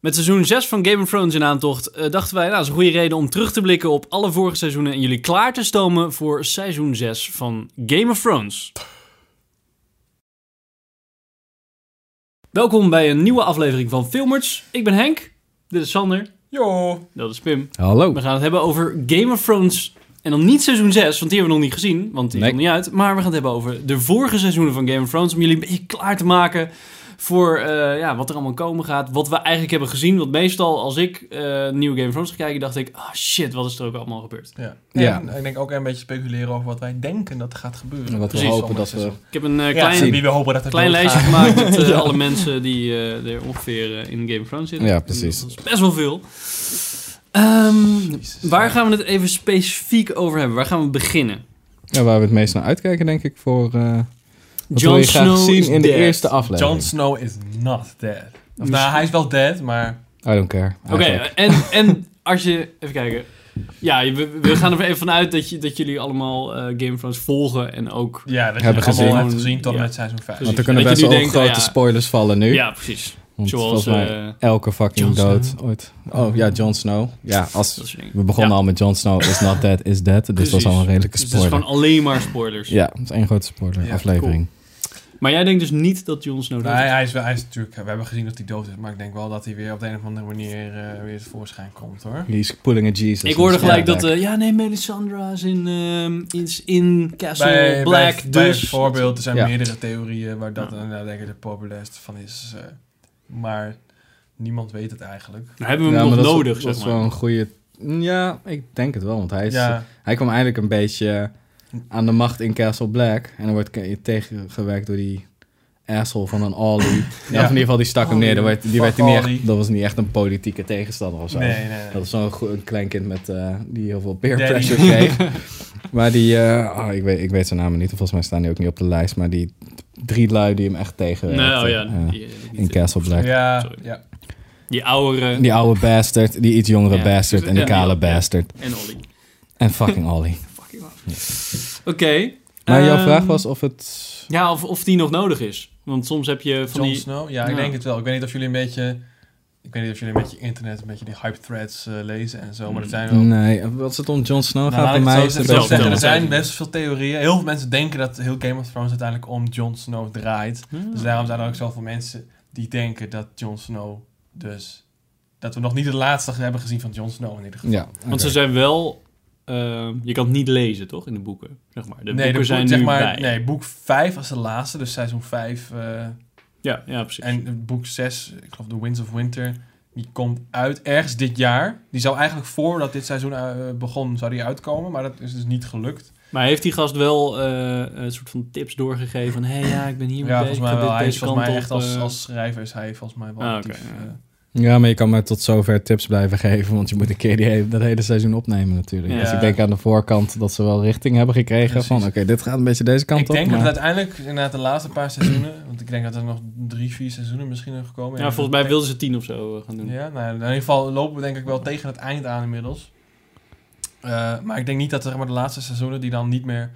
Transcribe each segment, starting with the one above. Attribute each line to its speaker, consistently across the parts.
Speaker 1: Met seizoen 6 van Game of Thrones in aantocht eh, dachten wij, nou, dat is een goede reden om terug te blikken op alle vorige seizoenen en jullie klaar te stomen voor seizoen 6 van Game of Thrones. Welkom bij een nieuwe aflevering van Filmers. Ik ben Henk, dit is Sander,
Speaker 2: Jo.
Speaker 1: dat is Pim.
Speaker 3: Hallo.
Speaker 1: We gaan het hebben over Game of Thrones. En dan niet seizoen 6, want die hebben we nog niet gezien, want die is
Speaker 3: Nee.
Speaker 1: nog niet uit. Maar we gaan het hebben over de vorige seizoenen van Game of Thrones. Om jullie een beetje klaar te maken voor eh, ja, wat er allemaal komen gaat. Wat we eigenlijk hebben gezien. Want meestal als ik eh nieuwe Game of Thrones ga kijken, dacht ik... Ah shit, wat is er ook allemaal gebeurd?
Speaker 2: Ja.
Speaker 3: Ja.
Speaker 2: En ik denk ook een beetje speculeren over wat wij denken dat er gaat gebeuren.
Speaker 3: En wat we
Speaker 1: Precies.
Speaker 3: hopen dat we...
Speaker 2: Ja,
Speaker 1: Ik heb een eh,
Speaker 2: en
Speaker 1: klein,
Speaker 2: wie we hopen dat het
Speaker 1: klein
Speaker 2: doorgaat.
Speaker 1: lijstje gemaakt met eh, alle mensen die eh, er ongeveer eh, in Game of Thrones zitten.
Speaker 3: Ja, precies.
Speaker 1: Dat is best wel veel. Ehm,
Speaker 2: Jezus.
Speaker 1: waar gaan we het even specifiek over hebben? Waar gaan we beginnen?
Speaker 3: Ja, waar we het meest naar uitkijken, denk ik, voor... eh wat
Speaker 1: Jon
Speaker 3: wil je graag
Speaker 1: Snow
Speaker 3: zien
Speaker 1: is
Speaker 3: in de
Speaker 1: dead.
Speaker 3: eerste aflevering?
Speaker 2: Jon Snow is not dead. Of, nou,
Speaker 1: Misschien-
Speaker 2: hij is wel dead, maar...
Speaker 3: I don't care.
Speaker 1: Oké, eh, en, en als je... Even kijken. Ja, je- we, we gaan er even vanuit dat, je, dat jullie allemaal eh, Game of Thrones volgen en ook...
Speaker 2: Ja, dat
Speaker 3: Hebben
Speaker 2: je het allemaal
Speaker 1: gezien.
Speaker 2: hebt gezien tot en
Speaker 1: Ja.
Speaker 2: met seizoen 5.
Speaker 1: Precies.
Speaker 3: Want er kunnen
Speaker 1: Dat
Speaker 3: best
Speaker 1: je nu
Speaker 3: wel
Speaker 1: denkt,
Speaker 3: grote
Speaker 1: nou ja.
Speaker 3: spoilers vallen nu.
Speaker 1: Ja, precies.
Speaker 3: Want
Speaker 1: Zoals...
Speaker 3: volgens mij
Speaker 1: eh,
Speaker 3: elke fucking
Speaker 2: Jon
Speaker 3: dood
Speaker 2: Snow.
Speaker 3: ooit. Oh ja, Jon Snow. Ja, als...
Speaker 1: dat soort dingen.
Speaker 3: We begonnen
Speaker 1: Ja,
Speaker 3: al met Jon Snow is not dead, is dead. Dus dat
Speaker 1: precies.
Speaker 3: was al een redelijke
Speaker 1: Dus het is
Speaker 3: spoiler.
Speaker 1: gewoon alleen maar spoilers.
Speaker 3: Ja, dat is één grote spoiler
Speaker 2: Ja,
Speaker 3: aflevering.
Speaker 1: Maar jij denkt dus niet dat Jon Snow dood
Speaker 2: Nee,
Speaker 1: is?
Speaker 2: hij is, wel- hij is natuurlijk... We hebben gezien dat hij dood is, maar ik denk wel dat hij weer op de een of andere manier eh, weer tevoorschijn komt, hoor.
Speaker 3: He's pulling a Jesus.
Speaker 1: Ik hoorde gelijk
Speaker 3: Ja.
Speaker 1: dat... eh, ja, nee, Melisandre is in, ehm, is in Castle
Speaker 2: Bij,
Speaker 1: Black,
Speaker 2: bij, bij
Speaker 1: dus...
Speaker 2: bijvoorbeeld, er zijn
Speaker 3: Ja.
Speaker 2: meerdere theorieën waar dat
Speaker 1: Ja.
Speaker 2: inderdaad denk ik de populairste van is. eh, maar niemand weet het eigenlijk.
Speaker 1: Nou, hebben we
Speaker 3: Ja,
Speaker 1: hem
Speaker 3: maar
Speaker 1: nog
Speaker 3: dat is-
Speaker 1: nodig,
Speaker 3: Dat
Speaker 1: zeg
Speaker 3: is
Speaker 1: maar.
Speaker 3: wel een goede... Ja, ik denk het wel, want hij is...
Speaker 2: ja,
Speaker 3: Hij kwam eigenlijk een beetje aan de macht in Castle Black. En dan wordt ke- tegengewerkt door die asshole van een Ollie. Ja, of in ieder geval die stak hem
Speaker 2: Ollie.
Speaker 3: neer. Dat werd, die werd
Speaker 2: Fuck
Speaker 3: niet echt-
Speaker 2: Ollie.
Speaker 3: dat was niet echt een politieke tegenstander of zo.
Speaker 2: nee, nee, nee.
Speaker 3: Dat is zo'n go- een klein kind met, eh, die heel veel peer
Speaker 2: Ja, die-
Speaker 3: pressure kreeg. maar die, eh, oh, ik, weet, ik weet zijn namen niet. Volgens mij staan die ook niet op de lijst. Maar die drie lui die hem echt
Speaker 1: Nee,
Speaker 3: tegenwerkten.
Speaker 1: oh ja.
Speaker 3: eh,
Speaker 1: die- die-
Speaker 3: in Castle Black.
Speaker 2: Ja,
Speaker 1: Sorry.
Speaker 2: ja.
Speaker 1: Die oude
Speaker 3: Die oude bastard, die iets jongere
Speaker 1: Ja.
Speaker 3: bastard en die
Speaker 1: Ja.
Speaker 3: kale bastard.
Speaker 1: en Ollie.
Speaker 3: En fucking Ollie.
Speaker 1: Fucking hell. Oké.
Speaker 3: Maar jouw
Speaker 1: ehm,
Speaker 3: vraag was of het...
Speaker 1: Ja, of, of die nog nodig is. Want soms heb je van
Speaker 2: Jon
Speaker 1: die...
Speaker 2: Snow. Ja, ik
Speaker 1: Ja.
Speaker 2: denk het wel. Ik weet niet of jullie een beetje... Ik weet niet of jullie een beetje internet, een beetje die hype threads eh, lezen en zo. Maar er zijn wel...
Speaker 1: Mm.
Speaker 3: Nee, als het om Jon Snow
Speaker 2: Nou,
Speaker 3: gaat,
Speaker 2: laat
Speaker 3: bij
Speaker 2: ik
Speaker 3: mij
Speaker 2: het zo
Speaker 3: is het
Speaker 2: zeggen.
Speaker 1: beste-
Speaker 2: Er zijn- Er
Speaker 1: vertel.
Speaker 2: zijn best veel theorieën. Heel veel mensen denken dat heel Game of Thrones uiteindelijk om Jon Snow draait. Dus daarom zijn er ook zoveel mensen die denken dat Jon Snow dus... Dat we nog niet het laatste hebben gezien van Jon Snow in ieder geval.
Speaker 3: Ja,
Speaker 1: Want ze zijn wel... eh, je kan het niet lezen, toch? In de boeken, zeg maar. De boeken
Speaker 2: boek-
Speaker 1: zijn nu bij.
Speaker 2: Nee, boek 5 was de laatste, dus seizoen 5. eh,
Speaker 1: Ja, ja, precies.
Speaker 2: en boek 6, ik geloof The Winds of Winter, die komt uit ergens dit jaar. Die zou eigenlijk voordat dit seizoen eh, begon, zou die uitkomen, maar dat is dus niet gelukt.
Speaker 1: Maar heeft die gast wel eh, een soort van tips doorgegeven? Van, hé, hey, ja, ik ben hier
Speaker 2: ja,
Speaker 1: mee
Speaker 2: volgens
Speaker 1: bezig.
Speaker 2: mij
Speaker 1: ik ga
Speaker 2: wel.
Speaker 1: dit
Speaker 2: Hij is
Speaker 1: deze
Speaker 2: volgens mij
Speaker 1: kant
Speaker 2: echt
Speaker 1: op,
Speaker 2: als,
Speaker 1: eh.
Speaker 2: als schrijver is hij volgens mij wel
Speaker 1: Ah,
Speaker 2: actief.
Speaker 1: oké, ja.
Speaker 2: eh.
Speaker 3: Ja, maar je kan me tot zover tips blijven geven, want je moet een keer die he- dat hele seizoen opnemen natuurlijk.
Speaker 1: Ja.
Speaker 3: Dus ik denk aan de voorkant dat ze wel richting hebben gekregen
Speaker 2: Precies.
Speaker 3: van, oké, dit gaat een beetje deze kant
Speaker 2: Ik
Speaker 3: op.
Speaker 2: denk
Speaker 3: maar...
Speaker 2: dat het uiteindelijk, inderdaad de laatste paar seizoenen, want ik denk dat er nog drie, vier seizoenen misschien nog gekomen.
Speaker 1: Ja, volgens mij wilden ze tien of zo eh, gaan doen.
Speaker 2: Ja, nou, in ieder geval lopen we denk ik wel tegen het eind aan inmiddels. Eh, maar ik denk niet dat zeg maar, de laatste seizoenen die dan niet meer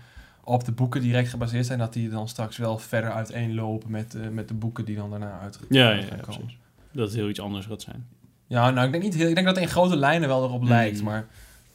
Speaker 2: op de boeken direct gebaseerd zijn, dat die dan straks wel verder uiteenlopen met, eh, met de boeken die dan daarna uit
Speaker 1: Ja, ja,
Speaker 2: uit
Speaker 1: ja,
Speaker 2: gaan komen.
Speaker 1: precies. Dat het heel iets anders gaat zijn.
Speaker 2: Ja, nou, ik denk, niet heel, ik denk dat het in grote lijnen wel erop
Speaker 1: Mm.
Speaker 2: lijkt, maar